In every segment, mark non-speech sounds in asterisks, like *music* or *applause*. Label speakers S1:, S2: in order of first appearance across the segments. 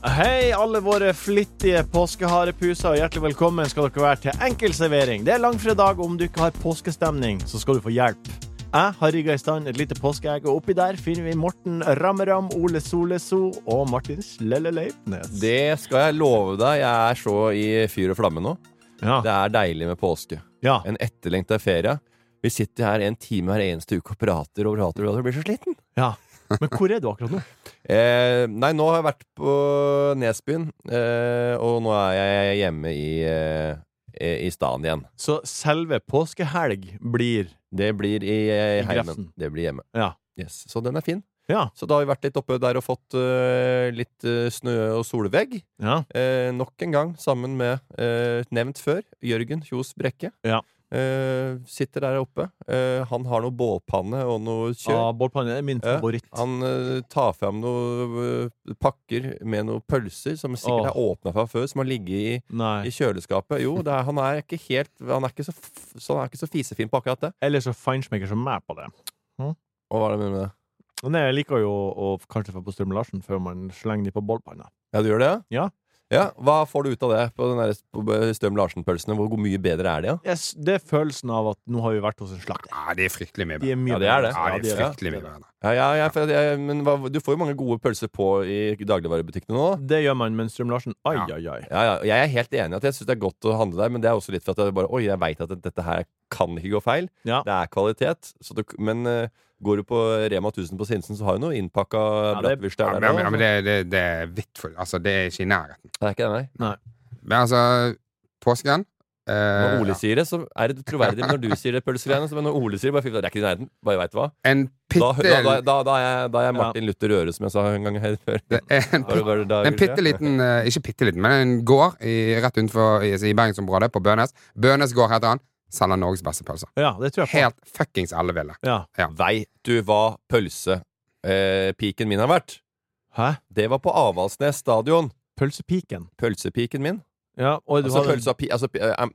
S1: Hei, alle våre flittige påskeharepuser, og hjertelig velkommen skal dere være til Enkel servering. Det er langfredag, og om du ikke har påskestemning, så skal du få hjelp. Jeg har rigga i stand et lite påskeegg, og oppi der finner vi Morten Rammeram, Ole Soleso og Martin Slelleleipnes.
S2: Det skal jeg love deg. Jeg er så i fyr og flamme nå.
S1: Ja.
S2: Det er deilig med påske.
S1: ja.
S2: En etterlengta ferie. Vi sitter her en time hver eneste uke og prater og prater. og prater. Jeg blir så sliten.
S1: ja. Men hvor er du akkurat nå?
S2: Eh, nei, nå har jeg vært på Nesbyen, eh, og nå er jeg hjemme i, eh, i staden igjen.
S1: Så selve påskehelg blir
S2: Det blir i, eh,
S1: I
S2: heimen.
S1: Grefsen.
S2: Det blir hjemme.
S1: Ja.
S2: Yes. Så den er fin.
S1: Ja.
S2: Så da har vi vært litt oppe der og fått eh, litt eh, snø og solvegg.
S1: Ja.
S2: eh, nok en gang sammen med eh, nevnt før, Jørgen Kjos Brekke.
S1: Ja.
S2: Eh, sitter der oppe. Eh, han har noe bålpanne og noe kjør.
S1: Ah, Bålpanne er min
S2: Ja,
S1: favoritt.
S2: Han eh, tar fram noen pakker med noen pølser som sikkert
S1: Åh.
S2: er åpna fra før, som har ligget i,
S1: Nei.
S2: i kjøleskapet. Jo, det er, han er ikke helt Han er ikke så, f- så, han er ikke så fisefin på akkurat det.
S1: Eller så feinschmecker som meg på det.
S2: Og hva er det med det?
S1: Men jeg liker jo å kanskje få på strømmelasjen før man slenger de på bålpanna.
S2: Ja, du gjør det,
S1: Ja.
S2: ja? Hva får du ut av det på den der på Støm Larsen-pølsene? Hvor mye bedre er de, da?
S1: Yes, det er følelsen av at nå har vi vært hos en slakter.
S3: Ja, det er fryktelig mye
S1: De
S3: bedre.
S1: er mye
S2: Ja, det er det.
S1: bedre.
S3: Ja, det er
S1: Ja, de
S3: fryktelig mye
S1: det.
S3: bedre.
S2: Ja, ja, ja, for jeg, men hva, du får jo mange gode pølser på i dagligvarebutikkene nå. da.
S1: Det gjør man med en strømmelasjen. Ai,
S3: Ja.
S1: ai, ai.
S2: Ja, ja, jeg er helt enig i at jeg syns det er godt å handle der, men det er også litt for at jeg bare Oi, jeg veit at dette her kan ikke gå feil.
S1: Ja.
S2: Det er kvalitet. Så du, men eh, går du på Rema 1000 på Sinsen, så har du noe innpakka
S1: Ja, det-
S2: bratwurst der.
S3: Ja, men,
S2: da,
S3: ja, men
S2: altså.
S3: det, det, det er vidt for Altså, det er ikke i nærheten.
S2: Det er ikke det, nei.
S3: Men altså, påsken eh,
S2: Når Ole sier det, så er det troverdig. Men når du sier det pølsegreiene, så men når Ole sier det, bare fy, det er ikke i nærheten. Bare veit du hva.
S3: En
S2: Da, da, da,
S3: bitte
S2: da, da, er jeg, da er jeg Martin Luther Røre, som jeg sa en gang her før.
S3: det er eh, en
S2: Bare- bare da-
S3: En bitte liten, eh, ikke bitte liten, men en gård i, rett utenfor i, i bergensområdet, på Bønes. Bønes gård heter han. Selger Norges beste pølser.
S1: Ja, det tror jeg på.
S3: Helt fuckings elleville.
S1: Ja.
S2: Veit du hva pølsepiken min har vært?
S1: Hæ?
S2: Det var på Avaldsnes stadion.
S1: Pølsepiken. Pølsepiken
S2: Pølsepiken min.
S1: Ja, og du
S2: Altså
S1: har
S2: pølsa pi... Altså, pi- eh, em,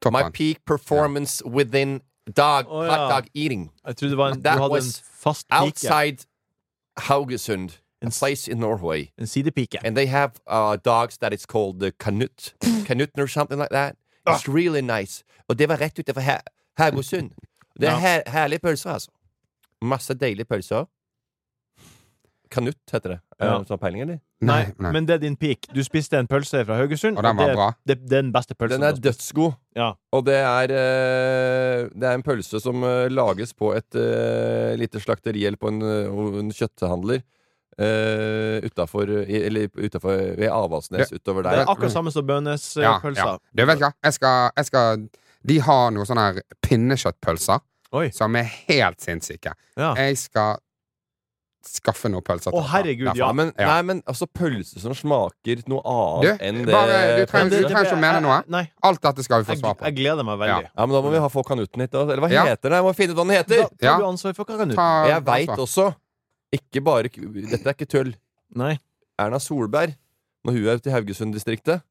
S3: Topp
S2: My
S3: han.
S2: peak performance within dog,
S1: Å,
S2: hot
S1: Oh, ja.
S2: dog eating.
S1: Jeg trodde det var en, du
S2: That
S1: hadde en
S2: was
S1: fast pike.
S2: Outside Haugesund, a
S1: En, s-
S2: place in Norway.
S1: en sidepike.
S3: Eh,
S2: And they have uh, dogs that is called the kanut.
S1: *laughs*
S2: Kanuten or something like that.
S1: Ah.
S2: It's really nice. Og det var rett utenfor Ha- Haugesund. Det er
S1: Ja.
S2: her, herlige pølser, altså. Masse deilige pølser. Kanut heter det. Er det
S1: Ja.
S2: noen som har peiling, eller?
S1: Nei,
S3: Nei, nei.
S1: men det er din pik. Du spiste en pølse fra Haugesund,
S3: Og den var
S1: det,
S3: bra.
S1: det, det er den beste pølsen.
S2: Den
S1: du
S2: er
S1: har spist.
S2: dødsgod.
S1: Ja.
S2: Og det er, eh, det er en pølse som eh, lages på et eh, lite slakteri eller på en, eh, en kjøtthandler uh, utafor Eller utafor ved Avaldsnes utover
S1: Det
S2: der.
S1: er akkurat samme som
S3: Ja,
S1: bønnespølsa.
S3: ja. Du vet du hva, jeg skal, jeg skal De har noen sånne her pinnekjøttpølser
S1: Oi.
S3: som er helt sinnssyke.
S1: Ja.
S3: Jeg skal skaffe noen pølser
S1: Å, herregud,
S3: derfra.
S2: Ja,
S1: ja.
S2: men,
S3: Ja.
S2: Nei, men altså pølse som smaker noe annet
S3: Du,
S2: enn det
S3: bare- du trenger-
S1: Men det-
S3: du
S1: det-
S3: trenger ikke å mene noe.
S1: jeg- Nei,
S3: Alt dette skal vi få
S1: jeg,
S3: svar på.
S1: jeg gleder meg veldig.
S3: Ja.
S2: Ja, men Da må vi ha få kanuten hit. da. Eller hva
S3: Ja. altså.
S2: heter den? Jeg må finne ut hva den
S1: Da
S2: heter!
S1: tar
S3: Ja.
S1: du ansvar for hva
S3: Ta,
S2: Jeg veit
S3: ansvar.
S2: også Ikke bare ku- Dette er ikke tull.
S1: Nei,
S2: Erna Solberg, når hun er ute i Haugesund-distriktet,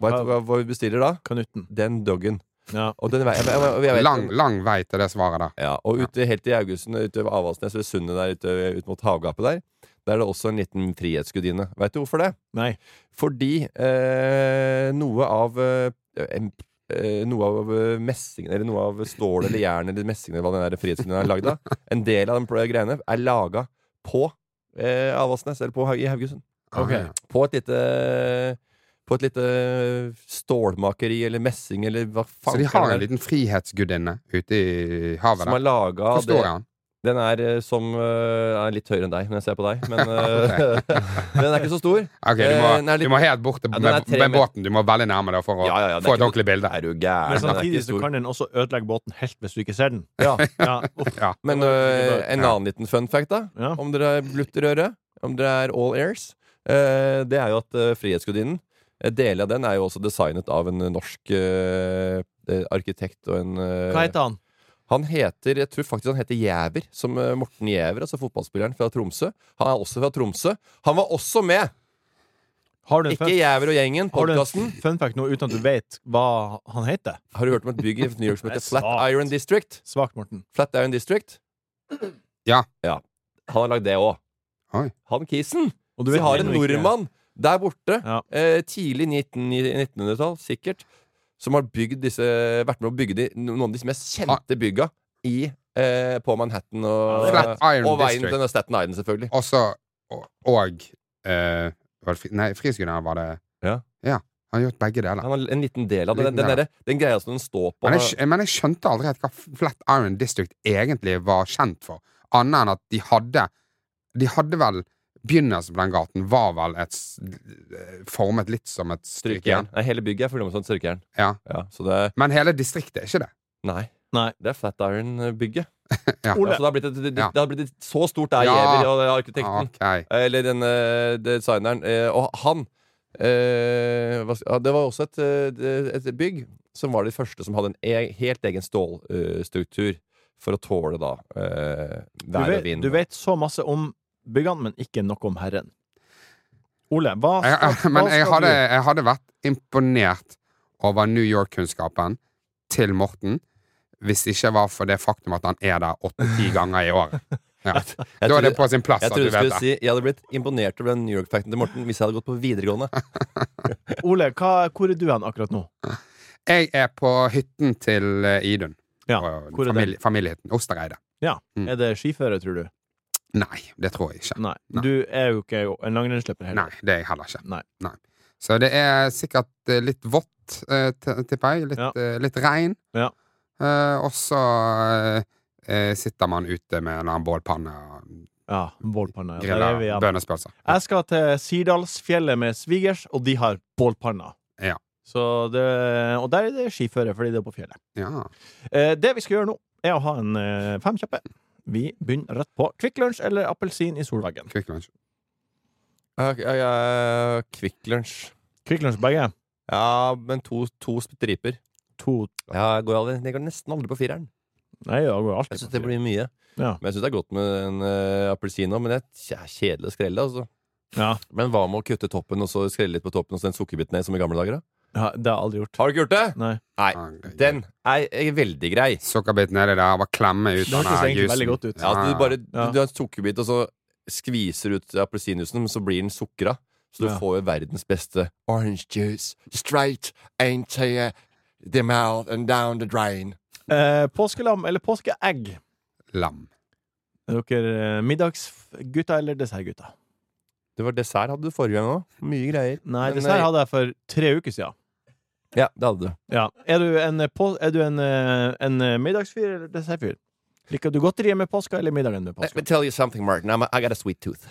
S2: hva, hva, hva hun bestiller da?
S1: kanuten.
S2: Den doggen.
S1: Ja.
S2: Og den, vei- jeg, jeg, jeg, jeg vet-
S3: Lang, lang vei til det svaret der.
S2: Ja, og ute, helt i Augustsund, ute ved Avaldsnes, ved sundet der ute ut mot havgapet der, der er det også en liten frihetsgudinne. Veit du hvorfor det?
S1: Nei.
S2: Fordi eh, noe av eh, em- eh, noe av eh, messingen, eller noe av stålet eller jernet eller messingen eller hva den der frihetsgudinnen er lagd av, en del av den pl- greiene er laga på eh, Avaldsnes, eller på, Haug- i Haugesund.
S1: Ok.
S2: På et lite på et lite stålmakeri eller messing eller hva
S3: Så
S2: faen
S3: de
S2: skal
S3: har
S2: det
S3: en
S2: være,
S3: liten frihetsgudinne ute i havet
S2: som
S3: der.
S2: er laga
S3: Forstår jeg han?
S2: Den er eh, som eh, er litt høyere enn deg når jeg ser på
S3: *laughs*
S2: deg, men *laughs* eh, den er ikke så stor.
S3: Ok, du
S2: Eh, den
S3: må,
S2: er litt-
S3: du må helt bort til-
S2: Ja, den er
S3: med,
S2: tre
S3: med
S2: meter.
S3: båten. Du må veldig nærme det for å
S2: Ja, ja, ja, det er
S3: få et
S2: ikke-
S3: ordentlig bilde.
S2: Er du
S1: Men
S2: gæren? Den er
S1: samtidig
S2: ikke
S1: så
S2: stor.
S1: kan den også ødelegge båten helt hvis du ikke ser den.
S2: Ja.
S1: *laughs* Ja,
S3: *laughs*
S1: uff,
S3: Ja.
S2: Men eh, en annen liten fun fact, da.
S1: ja.
S2: Om dere er blutter i øret, om dere er all airs, eh, det er jo at eh, Frihetsgudinnen Eh, Deler av den er jo også designet av en eh, norsk eh, eh, arkitekt og en eh,
S1: Hva heter han?
S2: Han heter, jeg tror faktisk han heter Jæver, som eh, Morten Jæver, altså fotballspilleren fra Tromsø. Han er også fra Tromsø. Han var også med!
S1: Har du en
S2: Ikke
S1: fun,
S2: Jæver og gjengen,
S1: har du
S2: podkasten.
S1: en fun fact nå uten at du vet hva han heter?
S2: Har du hørt om et bygg i New York som
S1: Det er
S2: heter Flatiron
S1: svakt.
S2: District?
S1: Svakt, Morten.
S2: Flatiron District?
S3: Ja.
S2: Han har lagd det òg.
S3: Oi.
S2: Han Kisen.
S1: Og
S2: Vi har
S1: ennå
S2: en
S1: ikke-
S2: nordmann der borte,
S1: Ja.
S2: eh, tidlig 19, 1900-tall, sikkert, som har bygd disse, vært med å bygge de, noen av de mest
S3: Ah.
S2: kjente bygga i, eh, på Manhattan og,
S3: Flat Iron
S2: og veien
S3: District.
S2: til Staten Island, selvfølgelig.
S3: Også Og, og eh, var det fri, Nei, Friskuddene var det
S2: Ja.
S3: Han har gjort begge deler.
S2: Han har en liten del av det. Den,
S3: Liten
S2: den,
S3: del.
S2: derre- den greia som den står på
S3: Men jeg, skj- men jeg skjønte aldri helt hva Flat Iron District egentlig var kjent for. Annet enn at de hadde De hadde vel Begynnelsen på den gaten var vel et, s- formet litt som et
S2: strykejern.
S3: strykejern.
S2: Nei, hele bygget er fullt av sånt strykejern.
S3: Ja.
S2: Ja, så det er
S3: Men hele distriktet er ikke det.
S2: Nei.
S1: Nei.
S2: Det er Flatiron-bygget. Ja,
S3: Ja.
S2: så det har blitt et, det,
S3: Ja.
S2: det har blitt et, så stort der,
S3: Ja.
S2: Giæver og arkitekten.
S3: Ok.
S2: Eller den eh, designeren. eh, Og han eh, hva skal- ja, Det var også et, eh, et bygg som var det første som hadde en e helt egen stålstruktur for å tåle da eh,
S1: Du
S2: vær og
S1: vet,
S2: vind.
S1: du vet så masse om byggene, men ikke noe om herren. Ole, hva
S3: Jeg, jeg,
S1: skal,
S3: men
S1: hva
S3: jeg
S1: skal
S3: hadde,
S1: du
S3: jeg hadde vært imponert over New York-kunnskapen til Morten hvis det ikke var for det faktum at han er der åtte-ti
S1: *laughs*
S3: ganger i året. Ja.
S2: Jeg
S3: Da er det
S2: trodde-
S3: på sin plass
S2: jeg
S3: at
S2: trodde
S3: du
S2: du
S3: vet
S2: skulle si
S3: det.
S2: Jeg hadde blitt imponert over den New York-facten til Morten hvis jeg hadde gått på videregående.
S1: Ole, hva, hvor er du hen akkurat nå?
S3: Jeg er på hytten til eh, Idun.
S1: Ja,
S3: Og
S1: hvor er
S3: familie, familiehytten. Ostereidet. Mm.
S1: Er det skiføre, tror du?
S3: Nei, det tror jeg ikke.
S1: Nei.
S3: Nei.
S1: Du er jo ikke en langrennsløper heller.
S3: Nei, det er jeg heller ikke.
S1: Nei.
S3: Så det er sikkert eh, litt vått, eh, t- tipper jeg. Litt,
S1: Ja.
S3: eh, litt regn.
S1: Ja.
S3: Eh, og så eh, sitter man ute med en eller annen bålpanne og
S1: Ja, bålpanna. Ja, der er vi
S3: griller
S1: igjen.
S3: bønnespølser.
S1: Jeg skal til Sirdalsfjellet med svigers, og de har bålpanna.
S3: Ja.
S1: Så det, og der er det skiføre, fordi det er på fjellet.
S3: Ja.
S1: Eh, det vi skal gjøre nå, er å ha en eh, fem kjappe. Vi begynner rett på Kvikk Lunsj eller appelsin i solveggen.
S3: Kvikk Lunsj.
S2: Ja, ja, ja, Kvikk Lunsj.
S1: Kvikk Lunsj begge.
S2: Ja, men to, to striper.
S1: To
S2: Ja, jeg går, aldri, jeg går nesten aldri på fireren.
S1: Nei, det går
S2: Jeg
S1: alltid
S2: synes
S1: på
S2: det blir mye.
S1: Ja.
S2: Men jeg syns det er godt med en uh, appelsin òg, men det er kjedelig å skrelle. Altså.
S1: Ja.
S2: Men hva med å kutte toppen og så skrelle litt på toppen og så den sukkerbiten ned som i gamle dager? da?
S1: Ja, det har jeg aldri gjort.
S2: Har du ikke gjort det?
S1: Nei.
S2: Den er, er veldig grei.
S3: Sukkerbit nedi der, bare klemme ut
S1: Det hørtes egentlig veldig godt ut. Altså,
S2: Ah. Ja, at du bare
S1: Ja.
S2: Du, du har en sukkerbit, og så skviser du ut appelsinjuicen, men så blir den sukra. Så du
S1: Ja.
S2: får jo verdens beste orange juice straight into the mouth and down the drain.
S1: Eh, påskelam eller påskeegg?
S3: Lam.
S1: Er dere eh, middagsgutter eller dessertgutter?
S2: Det var dessert hadde du forrige gang òg. Mye greier.
S1: Nei,
S2: Men,
S1: dessert
S2: eh,
S1: hadde jeg for tre uker siden.
S2: Ja, det hadde du.
S1: Ja. Er du en, eh, på- er du en, eh, en eh, middagsfyr eller dessertfyr? Liker du godteriet med påska eller middagen med påska?
S2: tell you something, Martin. I'm a, I got a sweet tooth.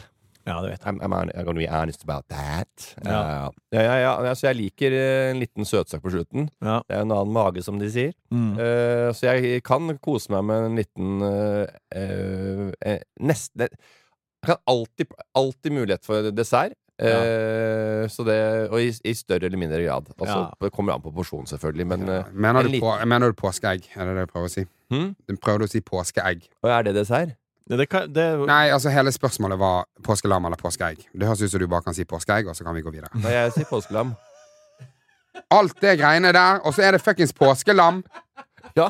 S1: Ja, det vet jeg.
S2: I'm, I'm, hon- I'm gonna be honest about that.
S1: Ja.
S2: Uh, ja, ja, ja. Altså, jeg liker eh, en liten søtsak på slutten.
S1: Ja.
S2: Det er en annen mage, som de sier.
S1: Mm.
S2: Eh, så jeg kan kose meg med en liten eh, eh, eh, Nesten Jeg kan alltid, alltid mulighet for dessert. Eh, så det, og i, i større eller mindre grad. Altså,
S1: Ja.
S2: Det kommer an på porsjonen, selvfølgelig. Men eh,
S3: Mener
S2: en
S3: du, på, mener du påskeegg? Er det det du prøver å si?
S2: Hm?
S3: Du prøvde å si påskeegg.
S2: og er det dessert?
S1: Ja, Det kan, det,
S3: Nei, altså hele spørsmålet var påskelam eller påskeegg. Det høres ut som du bare kan si påskeegg, og så kan vi gå videre.
S2: Nei, jeg sier
S1: *laughs*
S2: påskelam.
S3: Alt det greiene der, og så er det fuckings påskelam!
S2: ja.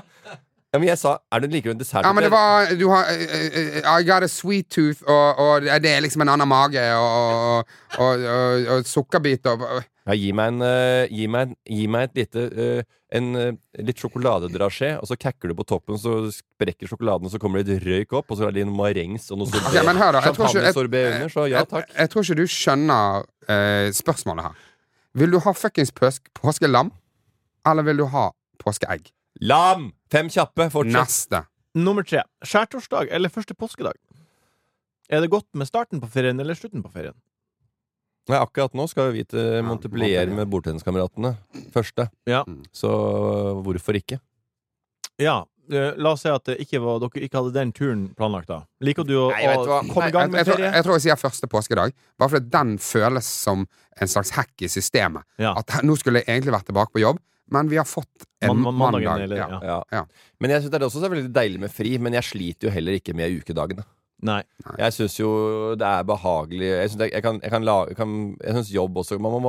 S2: ja, men jeg sa Er det liker du en dessert?
S3: Ja, men det var Du har eh, eh, I got a sweet tooth, og, og det er liksom en annen mage, og, og, og, og, og sukkerbit og
S2: Ja, gi meg en, eh, gi meg en, gi meg et lite eh, en, eh, litt sjokoladedrasje, og så kakker du på toppen, så sprekker sjokoladen, og så kommer det litt røyk opp, og så er det en marengs og noe sorbet.
S3: Ok, men hør da, jeg tror ikke- jeg-
S2: Champagnesorbet under, så ja
S3: jeg,
S2: takk.
S3: jeg tror ikke du skjønner eh, spørsmålet her. Vil du ha fuckings pøsk- påskelam, eller vil du ha påskeegg?
S2: Lam! Fem kjappe, fortsett.
S3: Neste.
S1: Nummer tre. Skjærtorsdag eller første påskedag? Er det godt med starten på ferien eller slutten på ferien?
S2: Nei, akkurat nå skal vi til Montepellier
S3: Montpellier.
S2: med bordtenniskameratene. Første.
S1: Ja.
S2: Så hvorfor ikke?
S1: Ja, eh, la oss si at det ikke var, dere ikke hadde den turen planlagt, da. Liker du å,
S4: Nei, vet du
S1: å
S4: hva?
S1: komme i
S3: Jeg,
S1: gang
S3: jeg,
S1: med
S3: tror,
S1: ferie?
S3: jeg tror jeg sier første påskedag, bare fordi den føles som en slags hack i systemet.
S1: Ja.
S3: At her- nå skulle jeg egentlig vært tilbake på jobb, men vi har fått en
S1: Man- man- mandagen,
S3: mandag.
S1: eller-
S3: ja.
S1: ja.
S2: Ja.
S3: Ja.
S2: Men jeg synes det er også så veldig deilig med fri, men jeg sliter jo heller ikke med ukedagene.
S1: Nei.
S2: Jeg syns jo det er behagelig Jeg synes, jeg, jeg kan, jeg kan, la- jeg kan, jeg synes jobb også man må,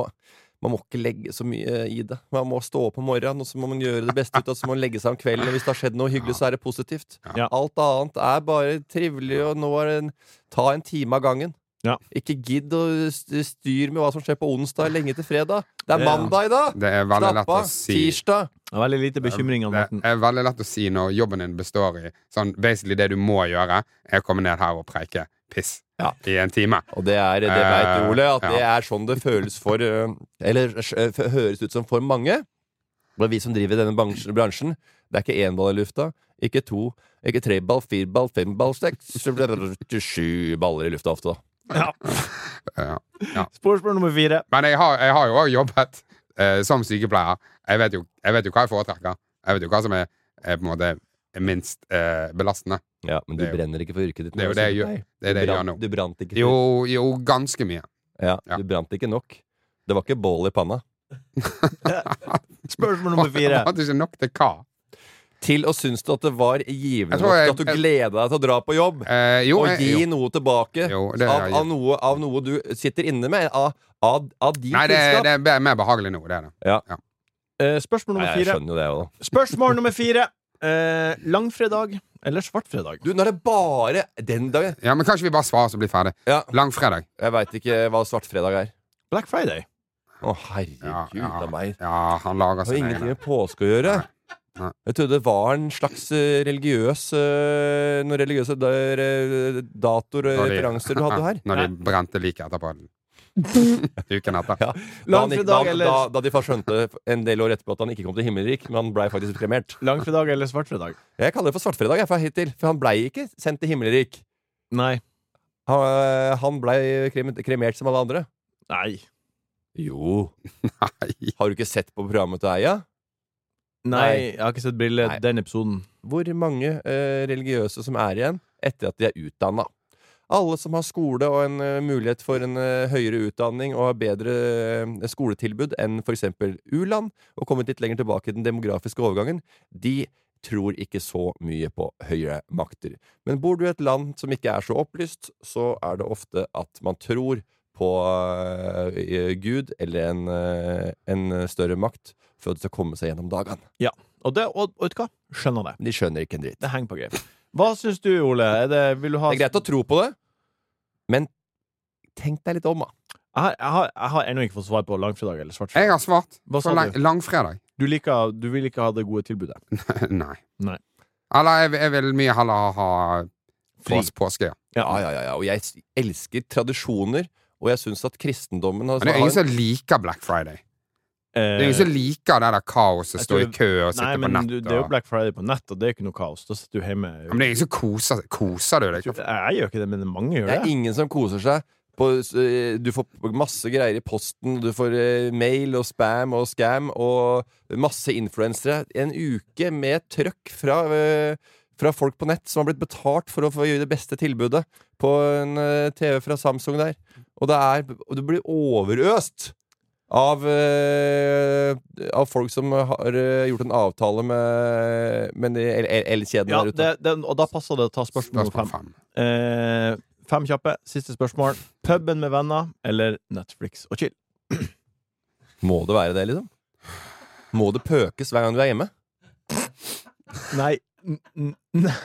S2: man må ikke legge så mye i det. Man må stå opp om morgenen, og så må man gjøre det beste ut av det. Så må man legge seg om kvelden, og hvis det har skjedd noe hyggelig, så er det positivt.
S1: Ja.
S2: Alt annet er bare trivelig, og nå er det en, ta en time av gangen.
S1: Ja.
S2: Ikke gidd å st- styre med hva som skjer på onsdag, lenge til fredag. Det er
S1: Ja.
S2: mandag i dag!
S3: Det er veldig
S2: Slapp
S3: lett å
S2: av.
S3: si
S2: Tirsdag.
S1: Det er Veldig lite bekymringer, Morten.
S3: Det er veldig lett å si når jobben din består i sånn basically det du må gjøre, er å komme ned her og preike piss
S2: Ja.
S3: i en time.
S2: Og det er, det vet du,
S3: Eh,
S2: Ole, at
S3: ja.
S2: det er sånn det føles for eh, Eller eh, f- høres ut som for mange. Men vi som driver denne bans- bransjen, det er ikke én ball i lufta, ikke to, ikke tre ball, fire ball, fem ball, seks Sju baller i lufta ofte, da.
S3: Ja.
S1: Spørsmål nummer fire.
S3: *laughs* Men jeg har, jeg har jo òg jobbet eh, som sykepleier. Jeg vet, jo, jeg vet jo hva jeg foretrekker. Jeg vet jo hva som er, er på en måte minst eh, belastende.
S2: Ja, Men du
S3: Det er jo-
S2: brenner ikke for yrket ditt.
S3: Det er jo
S2: nå,
S3: det jeg
S2: sier du.
S3: gjør. Det er det
S2: du,
S3: jeg gjør nå.
S2: brant, du brant ikke
S3: Jo, jo, ganske mye.
S2: Ja,
S3: Ja.
S2: Du brant ikke nok. Det var ikke bål i panna.
S1: Spørsmål
S3: *laughs*
S1: nummer fire.
S3: Jeg hadde ikke nok til hva.
S2: Til og syns du at det var givende
S3: Jeg tror
S2: nok
S3: jeg-
S2: til at du gleda deg til å dra på jobb?
S3: Eh, jo,
S2: og
S3: jeg,
S2: gi
S3: jo.
S2: noe tilbake
S3: Jo, det
S2: av,
S3: har jeg
S2: av, noe, av noe du sitter inne med. Av, av, av din
S3: Nei, det,
S2: kunnskap.
S3: det er mer behagelig nå. Det er det.
S1: Eh, spørsmål
S2: Nei,
S1: nummer
S2: jeg
S1: fire.
S2: skjønner jo det òg.
S1: Spørsmål nummer fire. Eh, langfredag eller svartfredag?
S2: Du, nå er det bare den dagen.
S3: Ja, men Kanskje vi bare svarer, så blir vi ferdig.
S2: Ja,
S3: Langfredag.
S2: jeg veit ikke hva svartfredag er.
S1: Black Friday.
S2: Å, herregud
S3: Ja, ja.
S2: av meg.
S3: Ja, han lager
S2: Det har
S3: seg
S2: ingenting med påske å gjøre.
S3: Nei.
S2: Jeg trodde det var en slags eh, religiøs eh, Noen religiøse der, eh, datoer og
S3: Når de-
S2: referanser du hadde her.
S3: *laughs* Når de brente liket etterpå. Uken etter.
S2: Ja. Da, han ikke, da,
S1: Langfredag eller-
S2: da, da de først skjønte en del år etterpå at han ikke kom til himmelrik, men han blei faktisk kremert.
S1: Langfredag eller svartfredag?
S2: Jeg kaller det for svartfredag, jeg, for hittil. For han blei ikke sendt til himmelrik.
S1: Nei.
S2: Han, øh, han blei krem- kremert som alle andre.
S1: Nei.
S2: Jo.
S3: Nei.
S2: Har du ikke sett på programmet til Eia?
S1: Nei, jeg har ikke sett bildet
S2: Nei.
S1: den episoden.
S2: Hvor mange øh, religiøse som er igjen etter at de er utdanna? Alle som har skole og en øh, mulighet for en øh, høyere utdanning og har bedre øh, skoletilbud enn f.eks. u-land, og kommet litt lenger tilbake i den demografiske overgangen, de tror ikke så mye på høyere makter. Men bor du i et land som ikke er så opplyst, så er det ofte at man tror på øh, Gud eller en, øh, en større makt for at det skal komme seg gjennom dagene.
S1: Og, det, og, og vet du hva? Skjønner det.
S2: De skjønner ikke en dritt.
S1: Det henger på greip. Hva syns du, Ole? Er det, vil du ha
S2: Det er greit å tro på det, men tenk deg litt om, da.
S1: Jeg har, jeg har, jeg har ennå ikke fått svar på langfredag eller svartfredag.
S3: Jeg har svart.
S1: Hva sa
S3: For lang,
S1: du?
S3: langfredag. *laughs*
S1: Du, liker, du vil ikke ha det gode tilbudet.
S3: Nei.
S1: Nei.
S3: Eller jeg, jeg vil mye heller ha
S1: Fri.
S3: pås, påske. Ja.
S2: Ja, ja, ja, ja. Og jeg s- elsker tradisjoner, og jeg syns at kristendommen har-
S3: Men det er ingen
S2: har-
S3: som liker Black Friday. Det er
S1: Altså, Eh,
S3: ingen som liker det der kaoset,
S1: jeg
S3: stå i
S1: tror-
S3: kø og
S1: nei,
S3: sitte på
S1: men
S3: nett.
S1: du, det er jo
S3: og...
S1: Black Friday på nett, og det er ikke noe kaos. Da sitter du hjemme.
S3: Men det er ingen som koser seg. Koser du deg?
S1: Jeg, gjør ikke det, men mange gjør
S2: det er
S1: det.
S2: ingen som koser seg. På, s- eh, du får masse greier i posten, du får eh, mail og spam og scam og masse influensere. En uke med trøkk fra, eh, fra folk på nett som har blitt betalt for å få gjøre det beste tilbudet på en eh, TV fra Samsung der. Og, det er, og du blir overøst av, eh, av folk som har eh, gjort en avtale med, med de el- el- elkjedene
S1: Ja,
S2: der ute.
S1: det, det, og da passer det å ta spørsmål nummer
S3: Spørsmål
S1: fem.
S3: fem.
S1: Eh, fem kjappe. Siste spørsmål. Puben med venner eller Netflix og chill?
S2: Må det være det, liksom? Må det pøkes hver gang du er hjemme?
S1: Nei n- n- n-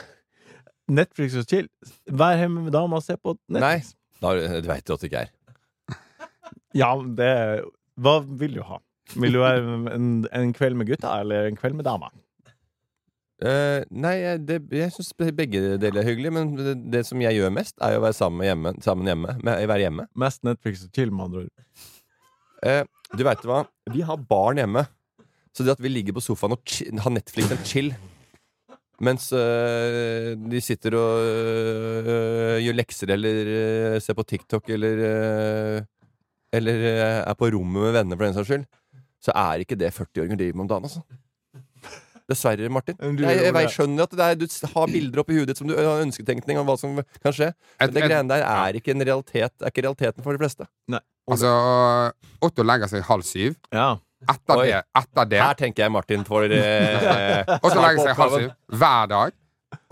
S1: Netflix og chill? Vær hjemme med dama og se på Netflix.
S2: Da du veit du at det ikke er.
S1: Ja, men det Hva vil du ha? Vil du ha en, en kveld med gutta eller en kveld med dama?
S2: Eh, nei, jeg- det, jeg syns begge deler er hyggelig, men det, det som jeg gjør mest, er jo å være sammen hjemme. Sammen hjemme med, være hjemme.
S1: Mest Netflix og chill, med andre ord.
S2: Eh, du veit hva? Vi har barn hjemme. Så det at vi ligger på sofaen og chi- har Netflix og chill mens eh, de sitter og eh, gjør lekser eller eh, ser på TikTok eller eh, Eller eh, er på rommet med venner, for den saks skyld, så er ikke det 40 år gamle driver med om dagen. Altså. Dessverre, Martin.
S1: Men du
S2: jeg, jeg,
S1: gjorde det.
S2: jeg skjønner at det er, du s- har bilder oppi hudet ditt som du har ønsketenkning om hva som kan skje. Men
S3: Et,
S2: det
S3: et,
S2: greiene der er ikke en realitet Er ikke realiteten for de fleste.
S3: altså, Otto legger seg halv syv.
S1: Ja.
S3: Etter
S2: Oi.
S3: det, etter det
S2: Her tenker jeg Martin får eh,
S1: *laughs*
S3: Og så
S2: svar
S3: legger
S2: på
S3: seg halv
S2: oppgaven.
S3: syv hver dag.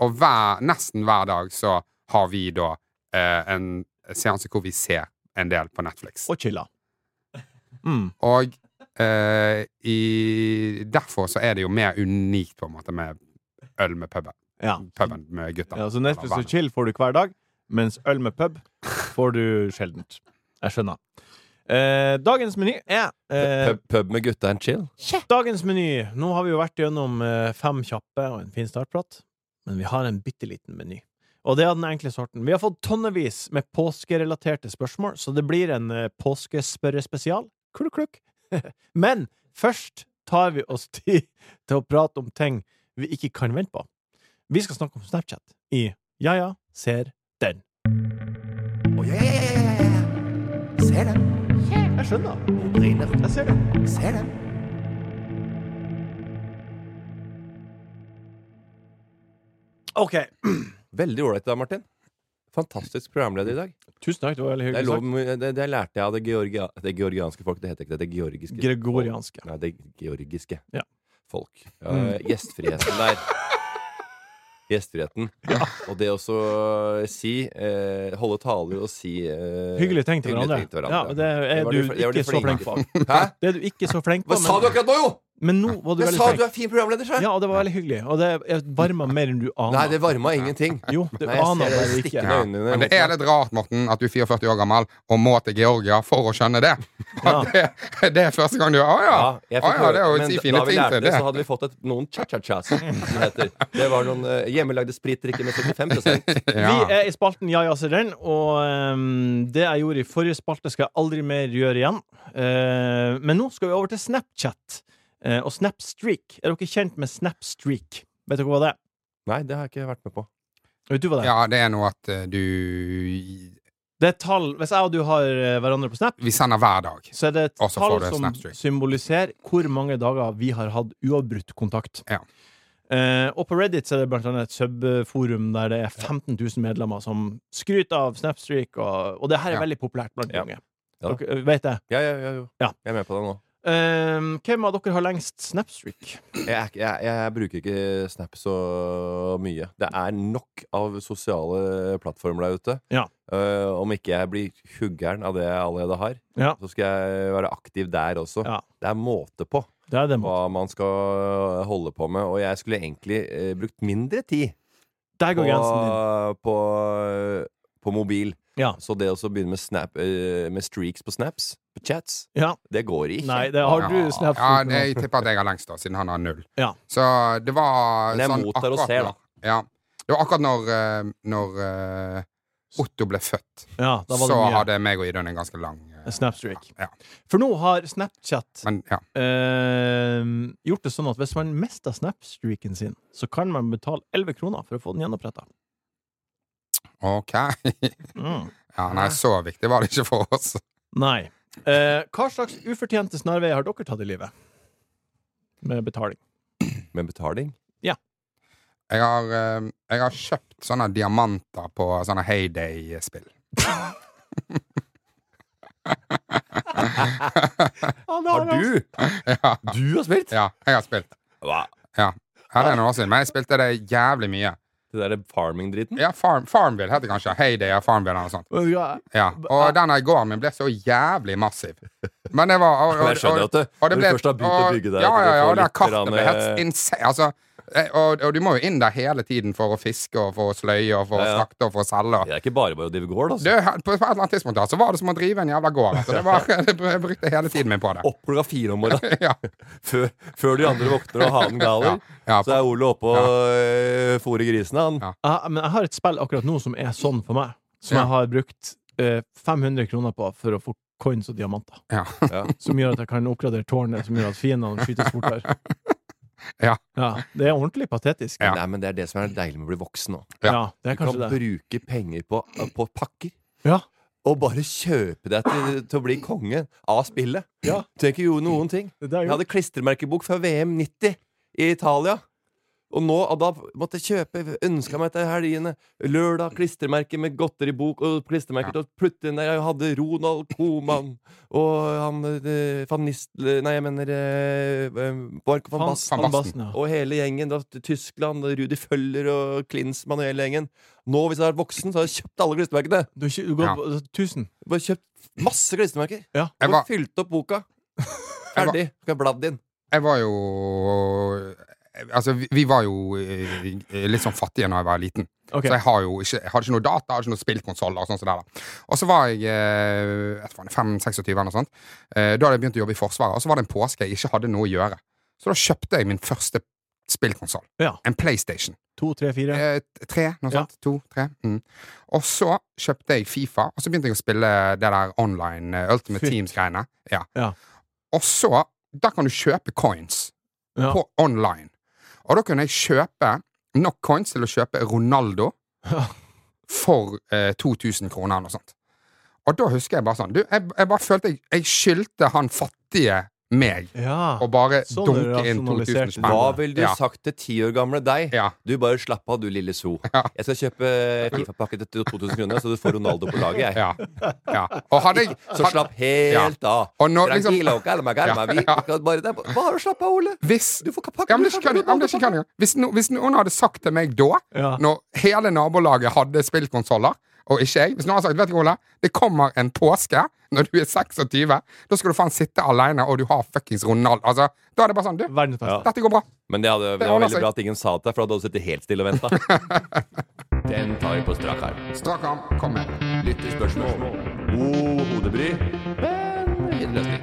S3: Og hver, nesten hver dag så har vi da eh, en seanse hvor vi ser en del på Netflix.
S1: Og chilla. Mm.
S3: Og eh, i, derfor så er det jo mer unikt på en måte med øl med puben.
S1: Ja.
S3: puben med gutta.
S1: ja. Så Netflix
S3: Eller
S1: og chill får du hver dag, mens øl med pub får du sjeldent. Jeg skjønner. Eh, dagens meny er eh,
S2: Pub, pub med gutta and chill.
S1: Dagens meny. Nå har vi jo vært gjennom eh, fem kjappe og en fin startprat, men vi har en bitte liten meny. Og det er av den enkle sorten. Vi har fått tonnevis med påskerelaterte spørsmål, så det blir en eh, påskespørrespesial. Klukk, klukk. *laughs* men først tar vi oss tid til å prate om ting vi ikke kan vente på. Vi skal snakke om Snapchat i Ja ja, ser den.
S4: Å, ja, ja, ja, ja, ja, ja. Se den.
S1: Jeg skjønner.
S4: Hun brenner.
S1: Jeg ser det.
S4: Se den.
S1: OK.
S2: Veldig ålreit da, Martin. Fantastisk programleder i dag.
S1: Tusen takk, det var veldig
S2: Det, er
S1: hyggelig
S2: lov,
S1: sagt.
S2: det, det lærte jeg av det, georgia, det georgianske folk. Det heter ikke det. Det georgiske
S1: Gregorianske.
S2: Nei, det georgiske
S1: Ja.
S2: folk. Ja, eh,
S1: Mm.
S2: Gjestfriheten der. Gjestfriheten. Og det å så si eh, Holde taler og si eh,
S1: Hyggelig ting til
S2: hyggelige
S1: hverandre.
S2: ting til
S1: Ja, men det
S2: Det
S1: er
S2: var
S1: du
S2: de fl- det var de
S1: ikke så flink på.
S2: Hæ?
S1: Det er du ikke så flink på,
S2: Hva sa du
S1: men,
S2: akkurat nå, jo?!
S1: men nå var du
S2: Jeg
S1: veldig
S2: sa du
S1: flink.
S2: er fin programleder, sa jeg!
S1: Ja, og det var veldig hyggelig. Og det varma mer enn du aner.
S2: Nei, det varma ingenting.
S1: Jo, det
S2: Nei, jeg
S1: aner
S2: ser det
S1: bare ikke.
S2: stikker
S3: Ja.
S2: med øynene.
S3: Men det er litt rart, Morten, at du er 44 år gammel og må til Georgia for å skjønne
S2: *laughs*
S3: det.
S1: Ja.
S3: Det, det er første gang du Å ja!
S2: Ja, jeg fikk
S3: Å ja, det er
S2: høre-
S3: jo å
S2: men
S3: si
S2: da-
S3: fine
S2: da vi
S3: ting
S2: lærte
S3: til
S2: det,
S3: det.
S2: så hadde vi fått et, noen cha-cha-cha, *laughs* som det heter. Det var noen eh, hjemmelagde spritdrikker med 75
S3: Ja.
S1: Vi er i spalten Ja, ja, ser den, og ehm, det jeg gjorde i forrige spalte, skal jeg aldri mer gjøre igjen. Eh, men nå skal vi over til Snapchat eh, og Snapstreak. Er dere kjent med Snapstreak? Vet dere hva det er?
S2: Nei, det har jeg ikke vært med på.
S1: Vet du hva det er?
S3: Ja, det er noe at eh, du
S1: Det er tall Hvis jeg og du har eh, hverandre på Snap,
S3: Vi sender hver dag.
S1: så er det et
S3: Og så
S1: tall
S3: får du en
S1: som
S3: Snapstreak.
S1: symboliserer hvor mange dager vi har hatt uavbrutt kontakt.
S3: Ja.
S1: Eh, og på Reddit så er det blant annet et subforum der det er 15 000 medlemmer som skryter av Snapstreak, og, og det her er
S3: Ja.
S1: veldig populært blant
S2: Ja.
S1: unge.
S2: Ja da.
S1: Dere vet det.
S2: Ja, ja, ja, jo.
S1: Ja.
S2: Jeg er med på det nå.
S1: Eh, hvem av dere har lengst Snapstreak?
S2: Jeg, er ikke- jeg, jeg bruker ikke Snap så mye. Det er nok av sosiale plattformer der ute.
S1: Ja.
S2: Eh, om ikke jeg blir huggeren av det jeg allerede har,
S1: Ja.
S2: så skal jeg være aktiv der også.
S1: Ja.
S2: Det er måte på
S1: Det er det.
S2: hva man skal eh, holde på med, og jeg skulle egentlig eh, brukt mindre tid
S1: Der går grensen din.
S2: på, på, på mobil.
S1: Ja.
S2: Så det å så begynne med, snap, eh, med streaks på snaps, på chats,
S1: Ja.
S2: det går ikke.
S1: Nei, det har du
S3: Ja,
S1: Snapstreak
S3: det, jeg
S1: nå.
S3: tipper at jeg har lengst, da, siden han har null.
S1: Ja.
S3: Så det var sånn
S2: Men jeg mottar og
S3: akkurat
S2: ser, da.
S3: når- Ja. Det var akkurat når, eh, når eh, Otto ble født,
S1: Ja, da var
S3: så
S1: det mye.
S3: hadde meg og Idun en ganske lang eh,
S1: Snapstreak.
S3: Ja.
S1: For nå har Snapchat
S3: Men ja.
S1: Ehm, gjort det sånn at hvis man mister Snapstreaken sin, så kan man betale 11 kroner for å få den gjenoppretta.
S3: OK.
S1: Mm.
S3: Ja, nei, så viktig var det ikke for oss.
S1: Nei. Eh, hva slags ufortjente snarveier har dere tatt i livet? Med betaling.
S2: Med betaling?
S3: Jeg har, eh, jeg har kjøpt sånne diamanter på sånne Heyday-spill.
S2: Har du?
S3: Ja.
S2: Du har spilt?
S3: ja, jeg har spilt.
S2: Hva?
S3: Ja. Ja, det er noen år siden, men jeg spilte det jævlig mye.
S2: Det derre farming-driten?
S3: Ja, farm, Farmville heter det kanskje. Heyday og Farmville eller noe sånt.
S1: Vet du hva?
S3: Ja, og den her gården min ble så jævlig massiv. Men det var og, og,
S2: Men *laughs* jeg skjønner at det-
S3: og det
S2: når du
S3: ble-
S2: først har begynt å
S3: og-
S2: bygge der,
S3: Ja,
S2: at
S3: ja,
S2: du får
S3: ja, og det her
S2: litt
S3: kartet
S2: grann,
S3: ble helt
S2: eh,
S3: insane. Altså, eh, og, og du må jo inn der hele tiden for å fiske og for å sløye og for å
S2: Ja, ja.
S3: slakte og for å selge. Og.
S2: Det er ikke bare bare å drive gård,
S3: Du,
S2: altså.
S3: på et eller annet tidspunkt da, så var det som å drive en jævla gård. Altså. Det var, *laughs* jeg brukte hele tiden min på det.
S2: Opp klokka fire om morgenen
S3: *laughs* Ja,
S2: før, før de andre våkner og hanen galer.
S3: ja,
S2: Så er Ole oppe og ja. fôrer grisene, han.
S3: Ja.
S1: Jeg- men jeg har et spill akkurat nå som er sånn for meg, som
S3: Ja.
S1: jeg har brukt eh, 500 kroner på for å få coins og diamanter.
S3: ja.
S1: *laughs* Som gjør at jeg kan oppgradere tårnet, som gjør at fiendene skytes fortere.
S3: Ja.
S1: Det er ordentlig patetisk.
S3: Ja.
S2: Nei, men Det er det som er deilig med å bli voksen nå.
S3: Ja.
S1: Ja, det er
S2: Du kan
S1: kanskje det.
S2: bruke penger på, på pakker.
S1: Ja.
S2: Og bare kjøpe deg til, til å bli konge av spillet.
S1: Ja.
S2: Du trenger ikke gjøre noen ting.
S1: Det er
S2: Jeg
S1: jo
S2: hadde klistremerkebok fra VM 90 i Italia. Og nå, og da måtte jeg kjøpe, ønska meg til helgene. Lørdag, klistremerke med godteribok og klistremerker til å putte inn der. Jeg hadde Ronald Koman og han eh, van Nistel... Nei, jeg mener eh, eh, Marco van Basten.
S3: Van Basten,
S1: ja.
S2: Og hele gjengen. Da, til Tyskland, og Rudi Føller og Klinsmann og hele gjengen. Nå, hvis jeg hadde vært voksen, så hadde jeg kjøpt alle klistremerkene.
S1: Du, har ikke- du går
S3: Ja.
S1: på 1000.
S2: Bare kjøpt masse klistremerker.
S1: Ja.
S3: Jeg
S2: Og
S3: var-
S2: fylt opp
S3: *laughs*
S2: boka. Ferdig. Skal jeg bladd inn.
S3: Jeg var jo Altså, vi, vi var jo eh, litt sånn fattige når jeg var liten.
S1: Ok.
S3: Så jeg, har jo ikke, jeg hadde ikke noe data, jeg hadde ikke noe spillkonsoller. Og sånn som det der. Og så var jeg eh, jeg tror det var 5-26 eller noe sånt. Eh, da hadde jeg begynt å jobbe i Forsvaret, og så var det en påske jeg ikke hadde noe å gjøre. Så da kjøpte jeg min første spillkonsoll.
S1: Ja.
S3: En PlayStation.
S1: To, tre, fire.
S3: Eh, t- tre, noe
S1: Ja.
S3: sånt. To, tre. Mm. Og så kjøpte jeg Fifa, og så begynte jeg å spille det der online eh, Ultimate
S1: Fytt.
S3: Teams-greiene. Ja.
S1: Ja.
S3: Og så Da kan du kjøpe coins
S1: Ja.
S3: på online. Og da kunne jeg kjøpe nok coins til å kjøpe Ronaldo
S1: Ja.
S3: for eh, 2000 kroner eller noe sånt. Og da husker jeg bare sånn du, jeg, jeg bare følte jeg, jeg skyldte han fattige meg
S1: Ja.
S3: å bare
S1: Sånn
S3: dunke inn
S1: rasjonaliserte du.
S3: 2000 spenn.
S2: Hva ville du
S3: Ja.
S2: sagt til ti år gamle deg?
S3: Ja.
S2: Du, bare slapp av, du lille so.
S3: *laughs* Ja.
S2: Jeg skal kjøpe Fifa-pakke til 2000 kroner, så du får Ronaldo på laget, jeg.
S3: Ja. ja. Og hadde jeg
S2: Så slapp helt av.
S3: Og når liksom-
S2: Tranquilo, calma, calma.
S3: *laughs*
S2: Vi skal bare det. er Bare slapp av, Ole.
S3: Hvis
S2: Du får pakke
S3: ja, men det er ikke kødd, ja, men det er ikke kødd engang. Hvis, no, hvis noen hadde sagt til meg da,
S1: Ja.
S3: når hele nabolaget hadde spillkonsoller, og ikke jeg Hvis noen hadde sagt vet du, Ole, det kommer en påske når du er 26, da skal du faen sitte alene, og du har fuckings Ronald altså, Da er det bare sånn Du,
S1: Verdens beste.
S3: dette går bra.
S2: Men det, hadde, det var altså-
S3: ordner
S2: veldig
S3: seg.
S2: bra at ingen sa det til deg, for da hadde du sittet helt stille og *laughs* venta. Den tar vi på strak arm.
S3: Strak arm. Kom med.
S2: Lyttespørsmål. God hodebry. Men ingen løsning.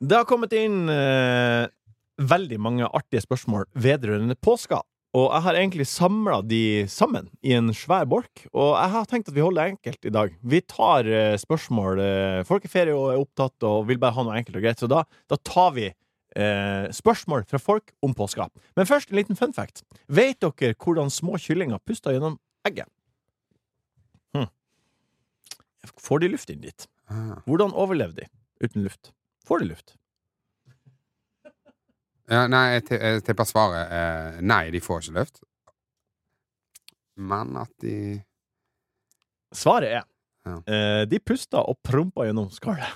S1: Det har kommet inn eh, veldig mange artige spørsmål vedrørende påska. Og jeg har egentlig samla de sammen i en svær bolk. Og jeg har tenkt at vi holder det enkelt i dag. Vi tar eh, spørsmål eh, Folk er ferie og er opptatt og vil bare ha noe enkelt og greit. Så da, da tar vi eh, spørsmål fra folk om påska. Men først en liten fun fact. Vet dere hvordan små kyllinger puster gjennom egget? Hm. Får de luft inn dit? Hvordan overlever de uten luft? Får de luft?
S3: Ja, nei, jeg ti- jeg tipper svaret er nei, de får ikke luft. Men at de
S1: Svaret er
S3: Ja.
S1: eh, De puster og promper gjennom skallet.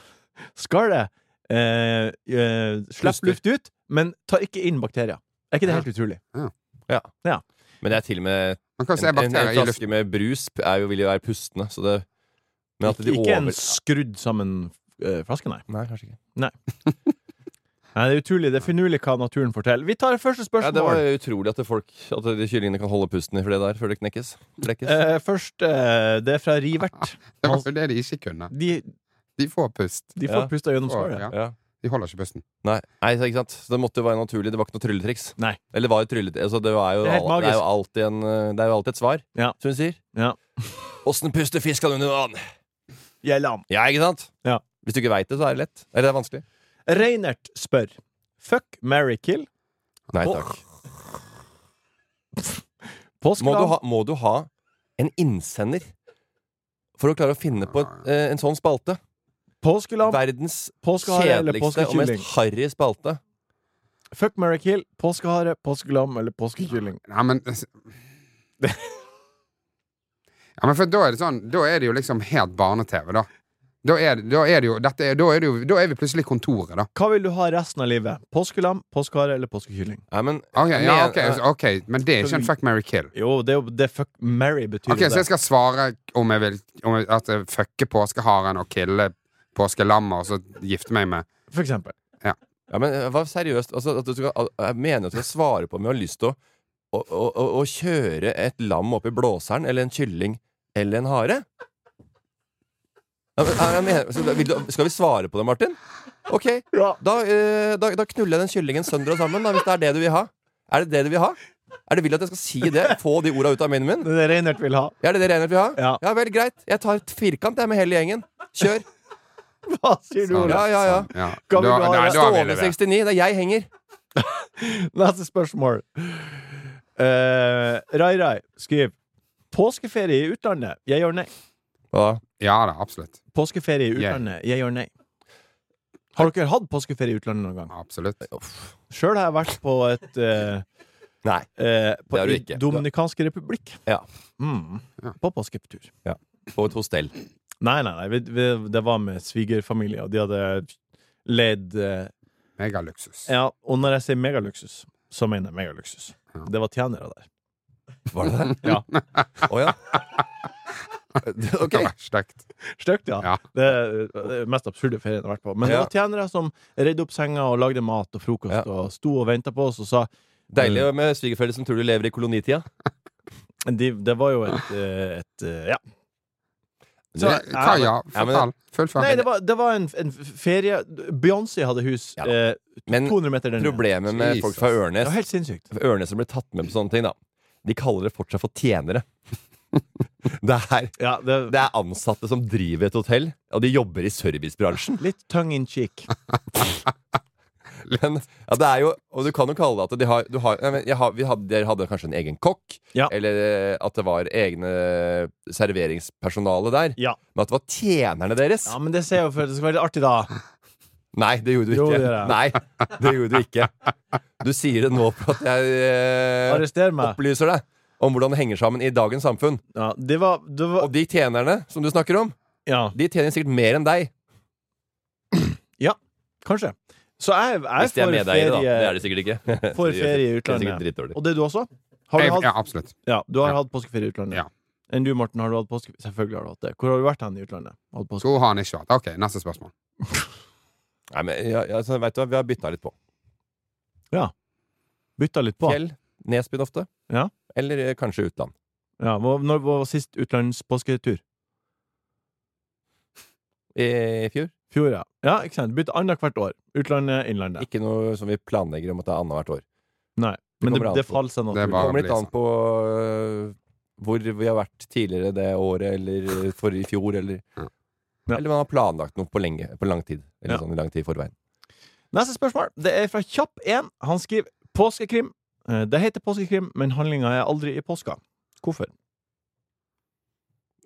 S1: Skallet eh, eh,
S2: Puster.
S1: slipper luft ut, men tar ikke inn bakterier. Er ikke det helt utrolig?
S2: Men det er til og med
S3: Man kan jo
S2: en,
S3: se
S2: en, en
S3: bakterier i luften.
S2: flaske med brus er jo, vil jo være pustende, så det Men at de
S1: ikke
S2: over...
S1: en skrudd sammen eh, flaske, nei.
S2: Nei, kanskje ikke.
S1: nei. Det er utrolig. Det er finurlig hva naturen får til. Vi tar første
S2: Ja, det
S1: spørsmål.
S2: var utrolig at det folk At de kyllingene kan holde pusten i for det der før det knekkes. Brekkes.
S1: Eh, først eh, Det er fra
S2: *laughs*
S1: Rivert.
S3: Det var jo det de ikke kunne.
S1: De,
S3: De får pust.
S1: de får
S2: Ja.
S1: pusta gjennom
S3: Får,
S1: skallet.
S3: ja.
S2: ja.
S3: De holder ikke pusten.
S2: Nei, nei, så ikke sant? Så det måtte jo være naturlig. Det var ikke noe trylletriks.
S1: Nei.
S2: Eller det var jo trylletriks. Altså, det, var jo
S1: Det er
S2: al-
S1: helt
S2: det, er
S1: magisk.
S2: jo alltid en, eh, det er jo alltid et svar,
S1: Ja.
S2: som hun sier.
S1: Ja.
S2: Åssen puster fisken under vann?
S1: Jeg lam.
S2: Ja, ikke sant?
S1: Ja.
S2: Hvis du ikke veit det, så er det lett. Eller det er vanskelig.
S1: Reinert spør Fuck, marry, kill.
S2: Nei
S1: Åh.
S2: takk. Må du,
S1: Påskelam.
S2: ha, må du ha en innsender for å klare å finne på en, eh, en sånn spalte?
S1: Påskelam.
S2: Verdens
S1: Påskehare eller
S2: kjedeligste og
S1: påskekylling?
S2: mest harry spalte.
S1: Fuck, marry, kill. Påskehare, påskelam eller påskekylling?
S3: Nei, men Ja, men for da er det sånn Da er det jo liksom helt barne-TV, da. Da er, det- da er det jo dette, er- Da er det jo Da er vi plutselig Kontoret, da.
S1: Hva vil du ha resten av livet? Påskelam, påskehare eller påskekylling?
S2: Nei, men
S3: Ok, ja,
S2: men-
S3: ok, altså, ok, Men det er ikke en fuck, marry, kill.
S1: Jo, det er jo det fuck Mary betyr
S3: Ok,
S1: jo
S3: Så
S1: det.
S3: jeg skal svare om jeg vil om jeg, at jeg fucker påskeharen og killer påskelammet, og så gifte meg med
S1: For eksempel.
S2: Ja, men eh, hva seriøst? Altså, at du skal, al- jeg mener at du skal svare på om jeg har lyst til å, å, å, å, å kjøre et lam opp i blåseren, eller en kylling, eller en hare. Ja, men, jeg mener, så, da- vil du, skal vi svare på det, Martin? Ok, da, eh, da, da knuller jeg den kyllingen sønder og sammen, da, hvis det er det du vil ha. Er det det du vil ha? Er det vil du at jeg skal si det? Få de orda ut av munnen min?
S1: Det er det Reinert vil ha. *laughs*
S2: Ja, Er det det Reinert vil ha?
S1: Ja.
S2: vel, greit. Jeg tar et firkant jeg med hele gjengen. Kjør.
S1: Hva sier du, Ola?
S2: Ja, ja, ja.
S3: Sånn, Ja. Da,
S1: Kan vi bare
S3: nei, da
S2: Stående
S3: ville vi.
S2: 69. Det er jeg henger.
S1: Neste spørsmål. Eh, Rai Rai skriver Påskeferie i utlandet. Jeg gjør nei.
S2: Ja.
S3: Ja da, absolutt.
S1: Påskeferie i
S3: Jeg.
S1: utlandet. Jeg gjør nei. Har dere hatt påskeferie i utlandet noen gang?
S3: Absolutt.
S1: Sjøl har jeg vært på et eh,
S2: Nei.
S1: eh,
S2: Det
S1: på
S2: har du
S1: i
S2: ikke.
S1: Dominikanske republikk.
S2: Ja.
S1: Mm.
S3: Ja.
S1: På påsketur.
S2: På et hostell.
S1: Nei, nei, nei. Vi, vi, det var med svigerfamilie, og de hadde leid eh,
S3: Megaluksus.
S1: Ja, og når jeg sier megaluksus, så mener jeg megaluksus.
S3: Ja.
S1: Det var tjenere der.
S2: Var det det?
S1: Ja.
S2: Å ja. Ok.
S3: Det var stygt.
S1: Stygt, ja.
S3: Ja.
S1: Det er det er den mest absurde ferien jeg har vært på. Men det
S2: Ja.
S1: var tjenere som redde opp senga og lagde mat og frokost
S2: Ja.
S1: og sto og venta på oss og sa
S2: Deilig med svigerforeldre som tror du lever i kolonitida.
S1: eh, de, Det var jo et, eh, et eh, Ja. Så-
S3: Nei, Hva, ja?
S2: Ja, men-
S3: eh, Fortell. Fullfør.
S1: Nei, det var, det var en, en ferie Beyoncé hadde hus
S2: Ja.
S1: eh,
S2: Men
S1: 200 meter der nede.
S2: Problemet med folk fra
S3: Jesus.
S1: Det
S2: Ørnes
S1: var helt sinnssykt.
S2: Ørnes som blir tatt med på sånne ting, da. De kaller det fortsatt for tjenere. *laughs* Det er,
S1: Ja, det,
S2: det er ansatte som driver et hotell, og de jobber i
S1: *laughs*
S2: servicebransjen.
S1: Litt tongue in cheek.
S2: Men, ja, det er jo, og du kan jo kalle det at de har, du har, nei, men jeg har vi hadde, Dere hadde kanskje en egen kokk,
S1: Ja.
S2: eller eh, at det var egne serveringspersonale der.
S1: Ja.
S2: Men at det var tjenerne deres
S1: ja, men det ser jeg jo for at det skal være litt artig, da.
S2: Nei, det gjorde du
S1: Jo,
S2: ikke.
S1: det gjør jeg.
S2: Nei, det gjorde du ikke. Du sier det nå for at jeg eh,
S1: Arrester meg.
S2: opplyser deg om hvordan det henger sammen i dagens samfunn.
S1: Ja, det var, det
S2: Og
S1: var
S2: de tjenerne som du snakker om,
S1: Ja,
S2: de tjener sikkert mer enn deg.
S1: kanskje. Så jeg, jeg
S2: Hvis de er
S1: får
S2: medeiere, da.
S1: ferie-
S2: Det er de sikkert ikke.
S1: *laughs*
S2: *laughs*
S1: For
S2: De gjør sikkert-
S1: ferie i
S2: de er
S1: utlandet.
S2: sikkert dritdårlig.
S1: Og det er du også? Har du
S3: Jeg-
S1: hatt,
S3: Ja, absolutt.
S1: ja, du har
S3: Ja.
S1: hatt påskeferie i utlandet?
S3: Ja.
S1: Enn du, Morten, har du hatt påske... Selvfølgelig har du hatt det. Hvor har du vært hen i utlandet? Hatt påske...
S3: Hvor har han ikke vært? Ok, neste spørsmål.
S2: Nei, men ja, ja, så vet du hva, Vi har bytta litt på.
S1: Bytta litt på.
S2: Fjell, Nesbyen ofte.
S1: Ja.
S2: Eller eh, kanskje utland.
S1: Ja, hva, når hva var sist utenlands påsketur?
S2: I fjor.
S1: Fjor, ja. Ja, ikke sant. Bytte annethvert år. Utlandet, innlandet.
S2: Ikke noe som vi planlegger om å ta annethvert år.
S1: Nei. Men det,
S2: kommer an
S1: det
S2: på.
S1: faller seg
S3: Det er
S2: Det
S1: naturlig.
S3: bare å
S2: kommer litt
S3: bli
S2: an
S3: sånn.
S2: på øh, hvor vi har vært tidligere det året, eller for i fjor, eller
S3: Ja.
S1: Ja.
S2: Eller man har planlagt noe på, lenge, på lang tid. Eller
S1: Ja.
S2: sånn i lang tid i forveien.
S1: Neste spørsmål. Det er fra Kjapp1. Han skriver påskekrim. Eh, Det heter påskekrim, men handlinga er aldri i påska. Hvorfor?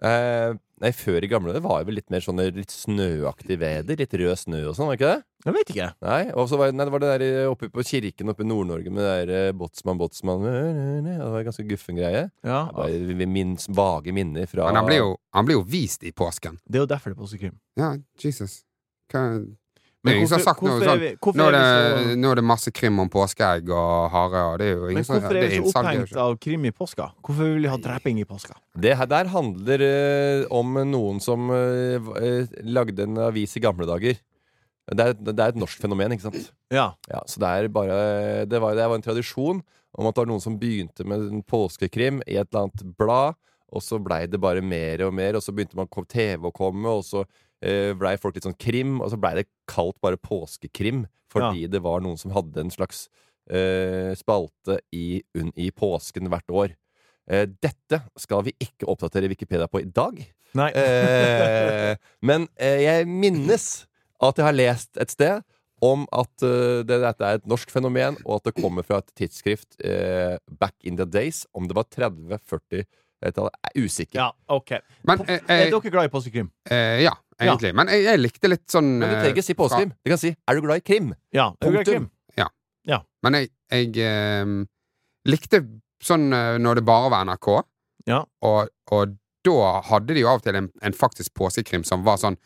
S2: Eh, nei, før i gamle dager var det vel litt mer sånn litt snøaktig veder. Litt rød snø og sånn, var det ikke det?
S1: Jeg vet ikke.
S2: Nei, og så var, nei, det var det der eh, oppe på kirken oppe i Nord-Norge med det der eh, Båtsmann, Båtsmann øh, Det var en ganske guffen greie.
S1: Ja,
S2: Det var vi- vi minnes vage minner fra
S3: Men han blir, jo, han blir jo vist i påsken.
S1: Det er jo derfor det er påskekrim.
S3: Ja, Jesus. Hva Det
S1: Men
S3: er ingen som
S1: hvorfor-
S3: har sagt noe
S1: hvorfor er
S3: sånn.
S1: vi- hvorfor
S3: Nå er,
S1: er vi så-
S3: det, nå er det masse krim om påskeegg og hare, og det er jo
S1: Men
S3: ingen som
S1: hvorfor er
S3: det
S1: vi så
S3: innsalg, det er jo
S1: opphengt
S3: ikke-
S1: av krim i påska? Hvorfor vil vi ha dreping i påska?
S2: Det her der handler eh, om noen som eh, v- eh, lagde en avis i gamle dager. Det er, det er et norsk fenomen, ikke sant?
S1: Ja.
S2: Ja, så det er bare det var, det var en tradisjon om at det var noen som begynte med en påskekrim i et eller annet blad, og så blei det bare mer og mer, og så begynte man kom- TV å komme, og så eh, blei folk litt sånn krim, og så blei det kalt bare påskekrim, fordi det var noen som hadde en slags eh, spalte i, un, i påsken hvert år. Eh, dette skal vi ikke oppdatere Wikipedia på i dag.
S1: Nei.
S2: Eh, men eh, jeg minnes at jeg har lest et sted om at eh, det, dette er et norsk fenomen, og at det kommer fra et tidsskrift eh, back in the days. Om det var 30, 40 tallet er jeg usikker.
S1: Ja,
S3: *laughs*
S1: OK.
S3: Men
S1: Po-
S3: eh,
S1: Er
S3: eh,
S1: dere glad i påskekrim?
S3: eh, Ja, egentlig. Men jeg, jeg likte litt sånn
S2: Men du trenger
S3: eh,
S2: ikke si påskekrim. Du kan si 'Er du glad i krim?'
S1: Ja. Er dere glad i
S2: Punktum.
S1: krim?
S3: Men jeg, jeg ehm, likte sånn eh, når det bare var NRK,
S1: Ja.
S3: og, og da hadde de jo av og til en, en faktisk påskekrim som var sånn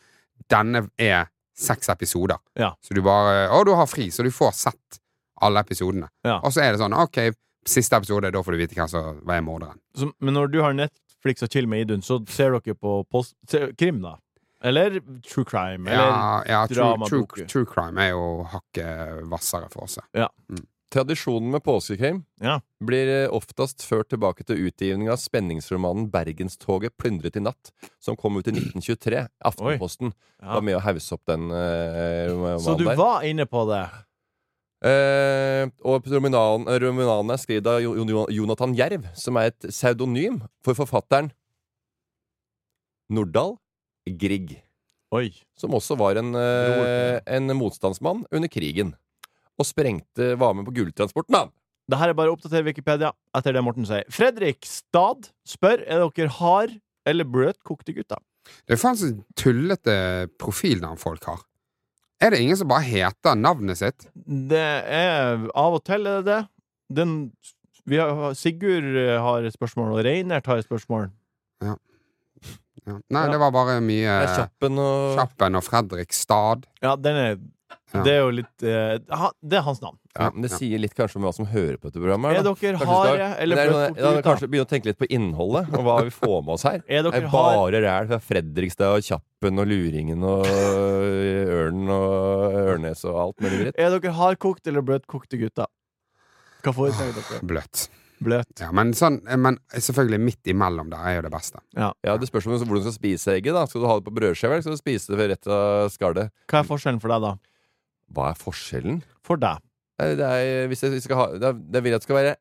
S3: Denne er seks episoder.
S1: Ja.
S3: Så du bare Å, du har fri, så du får sett alle episodene.
S1: Ja.
S3: Og så er det sånn OK, siste episode, da får du vite hvem som var morderen.
S1: Så, men når du har Netflix og chill med Idun, så ser dere på pås- ser- krim, da? Eller true crime? Eller
S3: ja, ja true, true,
S1: dramaboken.
S3: true crime er jo hakket hvassere for oss.
S2: Tradisjonen med påskekrim
S1: Ja.
S2: blir eh, oftest ført tilbake til utgivningen av spenningsromanen 'Bergenstoget plyndret i natt', som kom
S1: *clears throat*
S2: ut i 1923. Aftenposten
S1: Ja.
S2: var med å hause opp den eh, romanen
S1: Så du
S2: der.
S1: var inne på det?
S2: Eh, og romanen, eh, romanen er skrevet av Jo- Jo- Jonathan Jerv, som er et pseudonym for forfatteren Nordahl Grieg.
S1: Oi.
S2: som også var en, eh, en motstandsmann under krigen. Og sprengte var med på gulltransporten, han!
S1: Det her er bare å oppdatere Wikipedia etter det Morten sier. Fredrik Stad spør er dere hard eller bløtkokte gutter.
S3: Det er faen så tullete profilnavn folk har. Er det ingen som bare heter navnet sitt?
S1: Det er av og til er det det. Den, vi har, Sigurd eh, har et spørsmål, og Reinert har et spørsmål.
S3: Ja. Nei,
S1: Ja.
S3: det var bare mye
S2: Det er Kjappen og
S3: Kjappen og Fredrik Stad.
S1: Ja, den er
S3: Ja.
S1: Det er jo litt eh, ha- Det er hans navn.
S2: ja, men Det
S3: Ja.
S2: sier litt kanskje om hva som hører på dette programmet.
S1: Er
S2: her, da.
S1: dere
S2: Kanskje vi skal-
S1: harde eller
S2: Men det er sånn-
S1: bløtkokte
S2: ja, men
S1: gutter?
S2: Kanskje begynne å tenke litt på innholdet, og hva vi får med oss her.
S1: *laughs*
S2: Det
S1: Er dere
S2: er
S1: hard
S2: bare ræl fra Fredrikstad og Kjappen og Luringen og Ørnen og Ørnes og alt mulig dritt.
S1: Er dere hardkokt eller bløtkokte gutter? Hva foretrekker dere?
S3: Bløtt.
S1: Bløt.
S3: Ja, men, sånn, men selvfølgelig midt imellom der er jo det beste.
S2: Ja, Det spørs om hvordan du skal spise egget. da Skal du ha det på brødskive, eller skal du spise det rett av skallet?
S1: Hva er forskjellen for deg, da?
S2: Hva er forskjellen?
S1: For deg.
S2: Nei, Det er, hvis jeg skal ha, det, er, det vil jeg at det skal være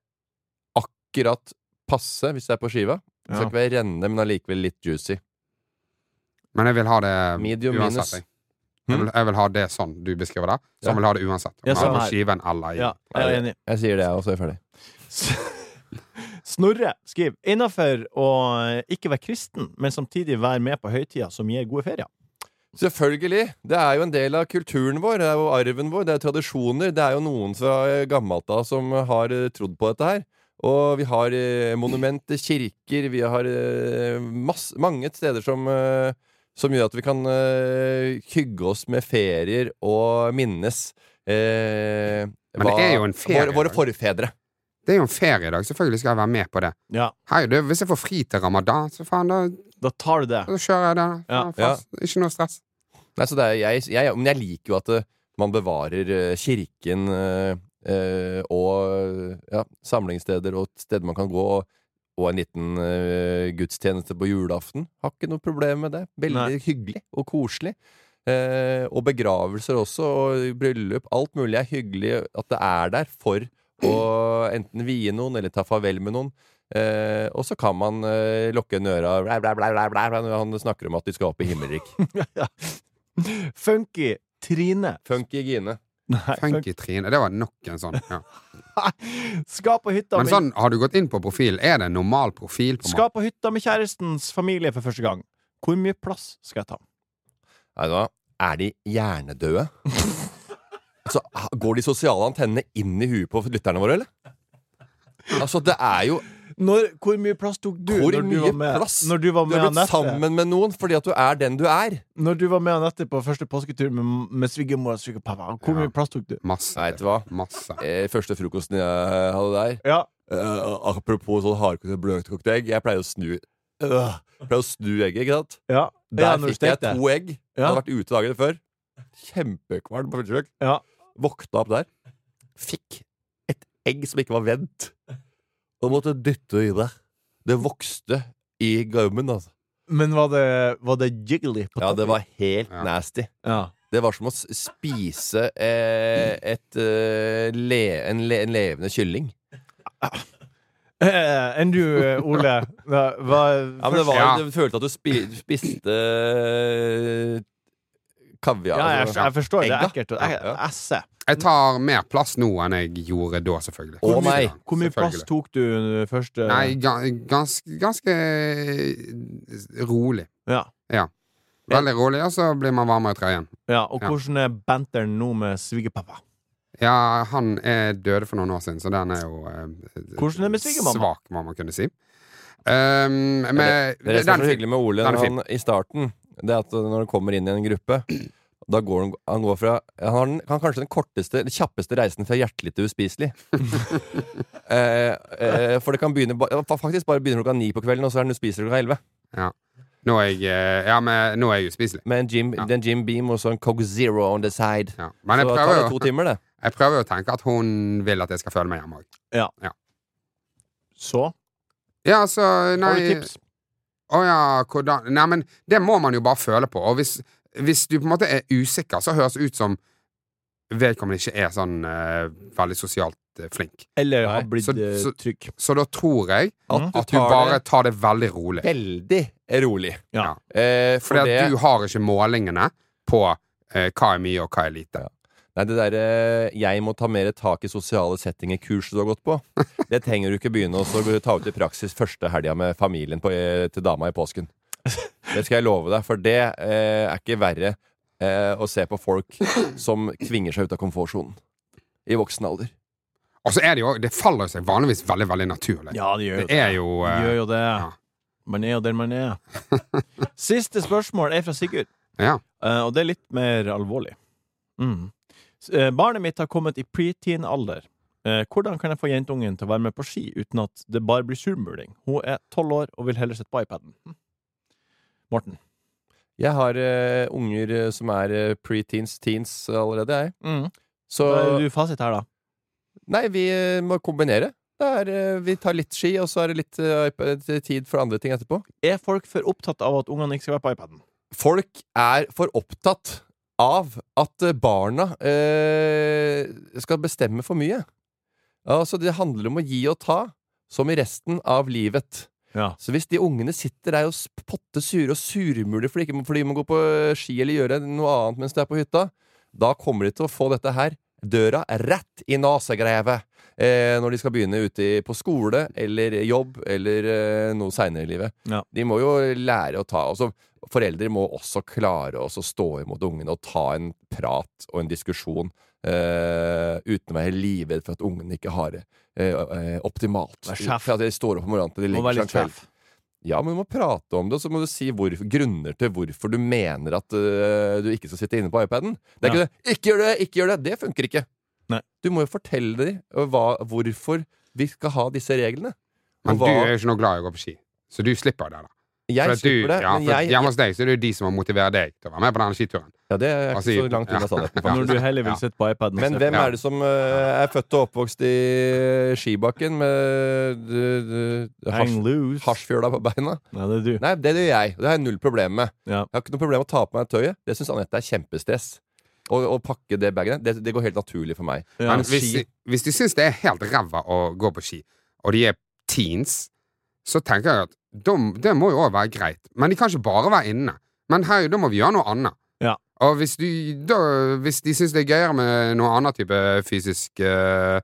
S2: akkurat passe hvis det er på skiva. Det skal
S1: Ja.
S2: ikke være rennende, men allikevel litt juicy.
S3: Men jeg vil ha det
S2: Medium minus.
S3: uansett. Jeg. Jeg, vil, jeg vil ha det sånn du beskriver det. Så
S2: Ja.
S3: jeg vil ha det uansett. Om
S1: Ja,
S3: jeg har
S1: sånn
S3: det
S1: her.
S3: på skiven eller i
S1: Ja, jeg er enig.
S2: Jeg sier det, og så er jeg ferdig.
S1: *laughs* Snorre skriver innafor å ikke være kristen, men samtidig være med på høytida som gir gode ferier.
S2: Selvfølgelig! Det er jo en del av kulturen vår, det er jo arven vår, det er tradisjoner. Det er jo noen fra eh, gammelt av som har eh, trodd på dette her. Og vi har eh, monumenter, kirker, vi har eh, mass, mange steder som, eh, som gjør at vi kan eh, hygge oss med ferier og minnes. Eh,
S3: Men det er jo en ferie,
S2: Våre, våre
S3: da.
S2: forfedre.
S3: Det er jo en feriedag. Selvfølgelig skal jeg være med på det.
S1: Ja,
S3: Hei, du, hvis jeg får fri til ramadan, så faen, da,
S1: da tar *laughs* du det.
S3: da kjører jeg det.
S1: Ja,
S3: Faen, fast. Ikke noe stress.
S2: Nei, så det er, jeg, jeg, men jeg liker jo at eh, man bevarer eh, kirken eh, eh, og ja, samlingssteder og steder man kan gå. Og, og en liten eh, gudstjeneste på julaften. Har ikke noe problem med det. Veldig
S1: Nei.
S2: hyggelig og koselig. Eh, og begravelser også, og bryllup. Alt mulig er hyggelig at det er der for å enten vie noen eller ta farvel med noen. Eh, og så kan man eh, lokke en øre av blæ, blæ, blæ, blæ, blæ, blæ, når han snakker om at de skal opp i himmelrik.
S1: Funky Trine.
S2: Funky Gine.
S1: Nei,
S3: Funky Trine. Det var nok en sånn. Ja.
S1: fun- Skal på hytta
S3: Men
S1: med,
S3: sånn, har du gått inn på profilen? Er det en normal profil? på
S1: skal på hytta med kjærestens familie for første gang. Hvor mye plass skal jeg ta?
S2: Nei, da er de *laughs* hjernedøde. altså, ha- går de sosiale antennene inn i huet på lytterne våre, eller? Altså, det er jo
S1: Når, hvor mye plass tok du
S2: Hvor
S1: når du
S2: mye
S1: var med,
S2: plass?
S1: Når du var
S2: Du
S1: med
S2: har blitt
S1: Anette?
S2: sammen med noen fordi at du er den du er.
S1: Når du var med Anette på første påsketur med, med svigermor og svigerpappa, hvor
S3: Ja.
S1: mye plass tok du?
S3: Masse.
S2: Nei, vet du hva?
S3: Masse.
S2: Eh, Første frokosten jeg hadde der
S1: Ja,
S2: eh, Apropos sånn hardkokt og bløtkokt egg. Jeg pleier å snu øh, pleier å snu egget, ikke sant?
S1: ja.
S2: Der
S1: ja, når du
S2: fikk jeg
S1: stekte.
S2: to egg. Jeg
S1: Ja.
S2: Hadde vært ute dagen før. Kjempekvalm på første
S1: Ja.
S2: Våkna opp der. Fikk et egg som ikke var vendt. Og måtte dytte i det. Det vokste i garmen, altså.
S1: Men var det, var det jiggly på
S2: Ja, det
S1: toppen?
S2: var helt
S3: Ja.
S2: nasty.
S1: Ja.
S2: Det var som å s- spise eh, et, eh, le, en, le, en levende kylling.
S1: Eh, Enn du, eh, Ole? Hva, hva,
S2: Ja, men det, var,
S3: Ja.
S2: det føltes at du spi, spiste eh, kaviar.
S1: Ja, jeg,
S2: altså.
S1: jeg forstår. Det er
S2: Egg, da?
S1: ekkelt. og Jeg,
S2: Ja, ja.
S1: esse.
S3: Jeg tar mer plass nå enn jeg gjorde da, selvfølgelig.
S2: Å, nei.
S1: Hvor mye plass
S3: Selvfølgelig.
S1: tok du første
S3: Nei, ga- ganske, ganske rolig.
S1: Ja.
S3: Veldig rolig, og så blir man varmere i trøyen.
S1: ja. Og
S3: Ja.
S1: hvordan er banteren nå med svigerpappa?
S3: Ja, han er døde for noen år siden, så den er jo eh,
S1: Hvordan er det med svigermamma?
S3: Svak, må man kunne si. Um, men
S2: Det er det som er
S3: den
S2: så hyggelig med Ole
S3: den er
S2: når han, i starten. Det er at når han kommer inn i en gruppe da går han, han går fra Han har den, han har kanskje den korteste, den kjappeste reisen fra hjertelig til
S3: *laughs*
S2: uspiselig. eh, eh, for det kan begynne ba- ja, fa- Faktisk bare begynner klokka ni på kvelden, og så er den uspiselig klokka elleve.
S3: Nå er jeg, eh, ja, men, nå er jeg uspiselig.
S2: Med en Jim,
S3: Ja.
S2: det er en Jim Beam og så en Coke Zero on the side.
S3: Ja.
S2: så
S3: Men jeg
S2: tar
S3: prøver
S2: det
S3: jo
S2: to timer, det.
S3: Jeg prøver jo å tenke at hun vil at jeg skal føle meg hjemme òg.
S1: Så
S3: Ja, altså, nei
S1: har du tips.
S3: Å ja, hvordan Nei, men det må man jo bare føle på. Og hvis, hvis du på en måte er usikker, så høres det ut som vedkommende ikke er sånn eh, veldig sosialt eh, flink.
S1: Eller
S2: Nei,
S1: har blitt
S3: så-
S1: eh,
S3: så-
S1: trygg.
S3: Så da tror jeg
S2: At du
S3: at du
S2: tar
S3: bare
S2: det
S3: tar det veldig rolig.
S2: veldig rolig.
S1: Ja.
S2: Eh, for
S3: Fordi
S2: det,
S3: at du har ikke målingene på eh, hva er mye og hva er lite.
S2: Nei, det derre eh, 'jeg må ta mer tak i sosiale settinger'-kurset du har gått på, det trenger du ikke begynne å så ta ut i praksis første helga med familien på, eh, til dama i påsken. Det skal jeg love deg, for det eh, er ikke verre eh, å se på folk som tvinger seg ut av komfortsonen i voksen alder.
S3: Og så er det jo Det faller jo seg vanligvis veldig, veldig naturlig.
S1: Ja, det gjør jo
S3: Det er jo
S1: Det
S3: eh,
S1: gjør jo det. Man er jo der man
S3: *laughs*
S1: er. Siste spørsmål er fra Sigurd,
S3: Ja.
S1: eh, og det er litt mer alvorlig. Mm. S- eh, Barnet mitt har kommet i preteen-alder. Eh, Hvordan kan jeg få jentungen til å være med på ski uten at det bare blir surmuling? Hun er tolv år og vil heller sitte på iPaden. Hm. Morten.
S2: Jeg har eh, unger eh, som er eh, pre-teens, teens allerede, jeg. Så
S1: Hva er du fasit her, da?
S2: Nei, vi eh, må kombinere. Det er, eh, vi tar litt ski, og så er det litt eh, iP- tid for andre ting etterpå.
S1: Er folk for opptatt av at ungene ikke skal være på iPaden?
S2: Folk er for opptatt av at eh, barna eh, skal bestemme for mye. Altså, det handler om å gi og ta, som i resten av livet.
S1: Ja.
S2: Så hvis de ungene sitter der og s- potte sure og surmuler fordi, ikke- fordi de må gå på eh, ski eller gjøre noe annet mens de er på hytta, da kommer de til å få dette her døra rett i nasegrevet eh, når de skal begynne ute i, på skole eller jobb eller eh, noe seinere i livet.
S1: Ja.
S2: De må jo lære å ta altså, Foreldre må også klare å så stå imot ungene og ta en prat og en diskusjon eh, uten å være livredd for at ungene ikke har det eh, eh, optimalt.
S1: Vær sjef.
S2: For at de står opp om morgenen til de
S1: Må
S2: legger seg om
S1: være litt
S2: kvelden.
S1: sjef.
S2: Ja, men du må prate om det, og så må du si hvorfor, grunner til hvorfor du mener at øh, du ikke skal sitte inne på iPaden. Det er
S1: Ja.
S2: ikke det 'ikke gjør det', 'ikke gjør det'. Det funker ikke.
S1: Nei.
S2: Du må jo fortelle dem øh, hva, hvorfor vi skal ha disse reglene. Og
S3: Men du
S2: hva-
S3: er jo ikke noe glad i å gå på ski, så du slipper det. da For
S2: Jeg
S3: at du,
S2: slipper det,
S3: ja,
S2: men
S3: for
S2: jeg
S3: Hjemme hos deg så er det jo de som har motivert deg til å være med på denne skituren.
S2: Ja, det er
S3: Altså,
S2: ikke så langt unna
S3: ja.
S2: sannheten.
S3: Ja.
S1: Når
S2: faktisk.
S1: du heller vil
S3: Ja.
S1: sitte på iPaden.
S2: Men
S1: så-
S2: hvem
S3: Ja.
S2: er det som øh, er født og oppvokst i øh, skibakken med øh, øh,
S1: Hang
S2: hasj-
S1: loose.
S2: hasjfjøla på beina?
S1: Nei, det er du.
S2: Nei, det gjør jeg. Det har jeg null problem med.
S1: Ja.
S2: Jeg har ikke noe problem med å ta på meg tøyet. Det syns Anette er kjempestress. Å å pakke det bagen det, det går helt naturlig for meg.
S1: Ja.
S3: Men hvis,
S2: ski.
S3: hvis de syns det er helt ræva å gå på ski, og de er teens, så tenker jeg at de, det må jo òg være greit. Men de kan ikke bare være inne. Men her, da må vi gjøre noe annet.
S1: Ja.
S3: Og hvis, du, da, hvis de syns det er gøyere med noe annen type fysisk eh,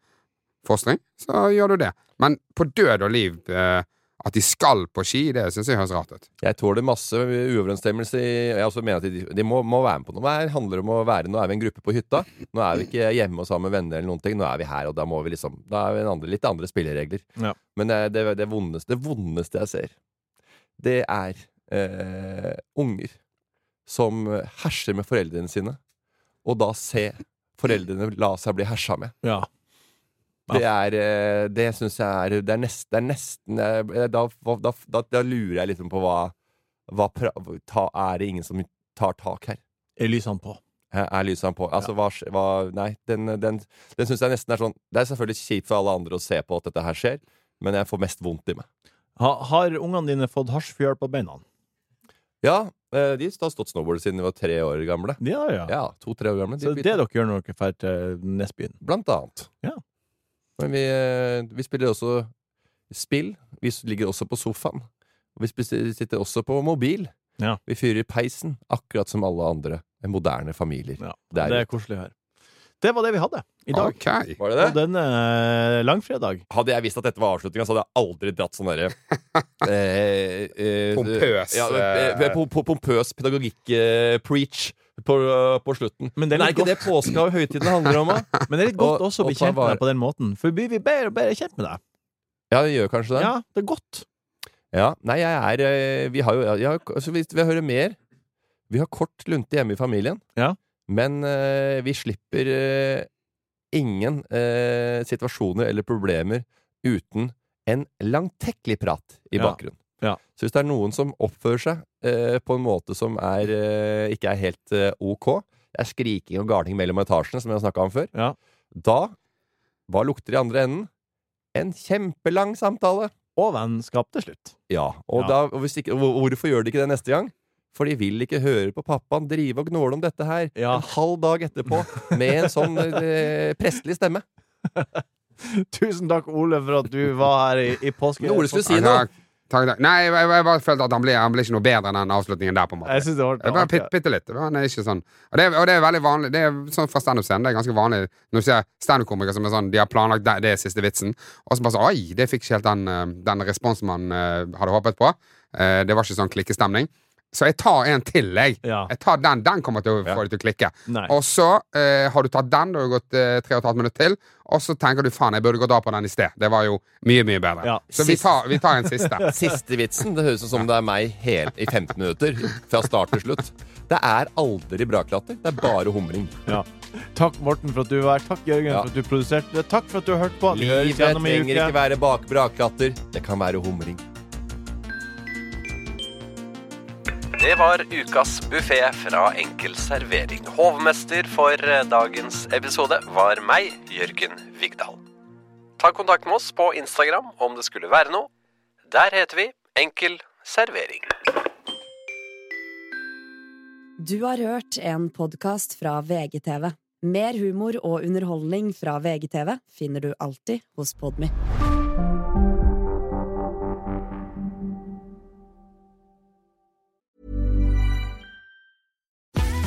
S3: fostring, så gjør du det. Men på død og liv eh, at de skal på ski, det syns jeg høres rart ut.
S2: Jeg tåler masse uoverensstemmelse i Jeg også mener at de, de må, må være med på noe. Det handler om å være Nå er vi en gruppe på hytta. Nå er vi ikke hjemme og sammen med venner eller noen ting. Nå er vi her, og da må vi liksom Da er vi en andre, litt andre spilleregler.
S1: Ja.
S2: Men det, det, det, vondeste, det vondeste jeg ser, det er eh, unger som herser med foreldrene sine, og da se foreldrene la seg bli hersa med.
S1: Ja.
S2: Det er eh, Det syns jeg er Det er, nest, det er nesten eh, da, da, da, da lurer jeg litt på hva, hva pra, ta, Er det ingen som tar tak her?
S1: Er lysene på?
S2: Er er lysene på? Altså, hva, skj- hva Nei, den, den, den syns jeg nesten er sånn Det er selvfølgelig kjipt for alle andre å se på at dette her skjer, men jeg får mest vondt i meg.
S1: Ha, har ungene dine fått hasjfjøl på beina?
S2: Ja, eh, de har stått snowboard siden de var tre år gamle.
S1: De har, ja.
S2: Ja, to-tre år gamle. De
S1: Så det er det
S2: begynte-
S1: dere gjør når dere drar til Nesbyen?
S2: Blant annet.
S1: Ja.
S2: Men vi, eh, vi spiller også spill. Vi s- ligger også på sofaen. Og vi spis- sitter også på mobil.
S1: Ja.
S2: Vi fyrer i peisen, akkurat som alle andre moderne familier.
S1: Ja,
S2: Det er
S1: det er koselig å høre. Det var det vi hadde i dag.
S3: Ok.
S2: Var det
S1: På denne eh, langfredag.
S2: Hadde jeg visst at dette var avslutninga, så hadde jeg aldri dratt sånn *laughs* derre eh, eh,
S3: Pompøs,
S2: Ja, eh, po- po- pompøs pedagogikk-preach på, på slutten.
S1: Men det er
S2: Men er
S1: litt
S2: ikke
S1: godt,
S2: det påska og høytiden handler om,
S1: *laughs*
S2: da?
S1: men det er litt godt
S2: Og-
S1: også å
S2: og
S1: bli
S2: ta
S1: kjent med
S2: vare-
S1: deg på den måten. For vi blir bedre og bedre kjent med deg.
S2: Ja, det gjør kanskje det.
S1: Ja, det er godt.
S2: Ja, nei, jeg er eh, Vi har jo jeg har, altså, vi, vi hører mer Vi har kort lunte hjemme i familien
S1: Ja.
S2: Men eh, vi slipper eh, ingen eh, situasjoner eller problemer Uten en langtekkelig prat i
S1: Ja.
S2: bakgrunnen
S1: Ja.
S2: Så hvis det er noen som oppfører seg eh, På en måte som er, eh, ikke er helt eh, ok Det er skriking og garning mellom etasjene Som jeg har snakket om før
S1: Ja.
S2: Da Hva lukter i andre enden? En kjempelang samtale.
S1: Og vennskap til slutt.
S2: Ja, og,
S1: Ja.
S2: Da, og hvis ikke, hvor- Hvorfor gjør de ikke det neste gang? For de vil ikke høre på pappaen drive og gnåle om dette her
S1: Ja.
S2: en halv dag etterpå med en sånn eh, prestelig stemme.
S1: *laughs* Tusen takk, Ole, for at du var her i, i påske.
S2: Men Ole skulle si noe.
S3: Takk, takk, takk. Nei, jeg, jeg, jeg bare følte at han ble, han ble ikke noe bedre enn den avslutningen der, på en måte.
S1: Jeg synes det var
S3: Det var bitte, bitte litt. Han er ikke sånn. Og det, er- og det er veldig vanlig Det er sånn fra standup-scenen. Det er ganske vanlig når du ser standup-komikere som er sånn De har planlagt det, det er siste vitsen, og så bare sånn Oi, det fikk ikke helt den, eh, den responsen man eh, hadde håpet på. Eh, Det var ikke sånn klikkestemning. Så jeg tar en til, jeg.
S1: Ja.
S3: Jeg tar den. Den kommer til å
S2: Ja.
S3: få deg til å klikke.
S1: Nei.
S3: Og så eh, har du tatt den, da har det gått eh, tre og et halvt minutt til, og så tenker du faen, jeg burde gått av på den i sted. Det var jo mye, mye bedre.
S1: Ja.
S3: Så vi tar, vi tar en siste.
S1: *laughs*
S2: Siste vitsen. Det høres ut som det er meg hel, i 15 minutter. Fra start til slutt. Det er aldri braklatter. Det er bare humring.
S1: Ja. Takk, Morten, for at du var her. Takk, Jørgen,
S2: Ja.
S1: for at du produserte. det. Takk for at du hørte på. Vi høres
S2: Livet
S1: igjen om en
S2: trenger
S1: uke.
S2: ikke være bak brakklatter. Det kan være humring.
S5: Det var ukas buffé fra Enkel servering. Hovmester for eh, dagens episode var meg, Jørgen Vigdal. Ta kontakt med oss på Instagram om det skulle være noe. Der heter vi Enkel servering.
S6: Du har hørt en podkast fra VGTV. Mer humor og underholdning fra VGTV finner du alltid hos Podmy.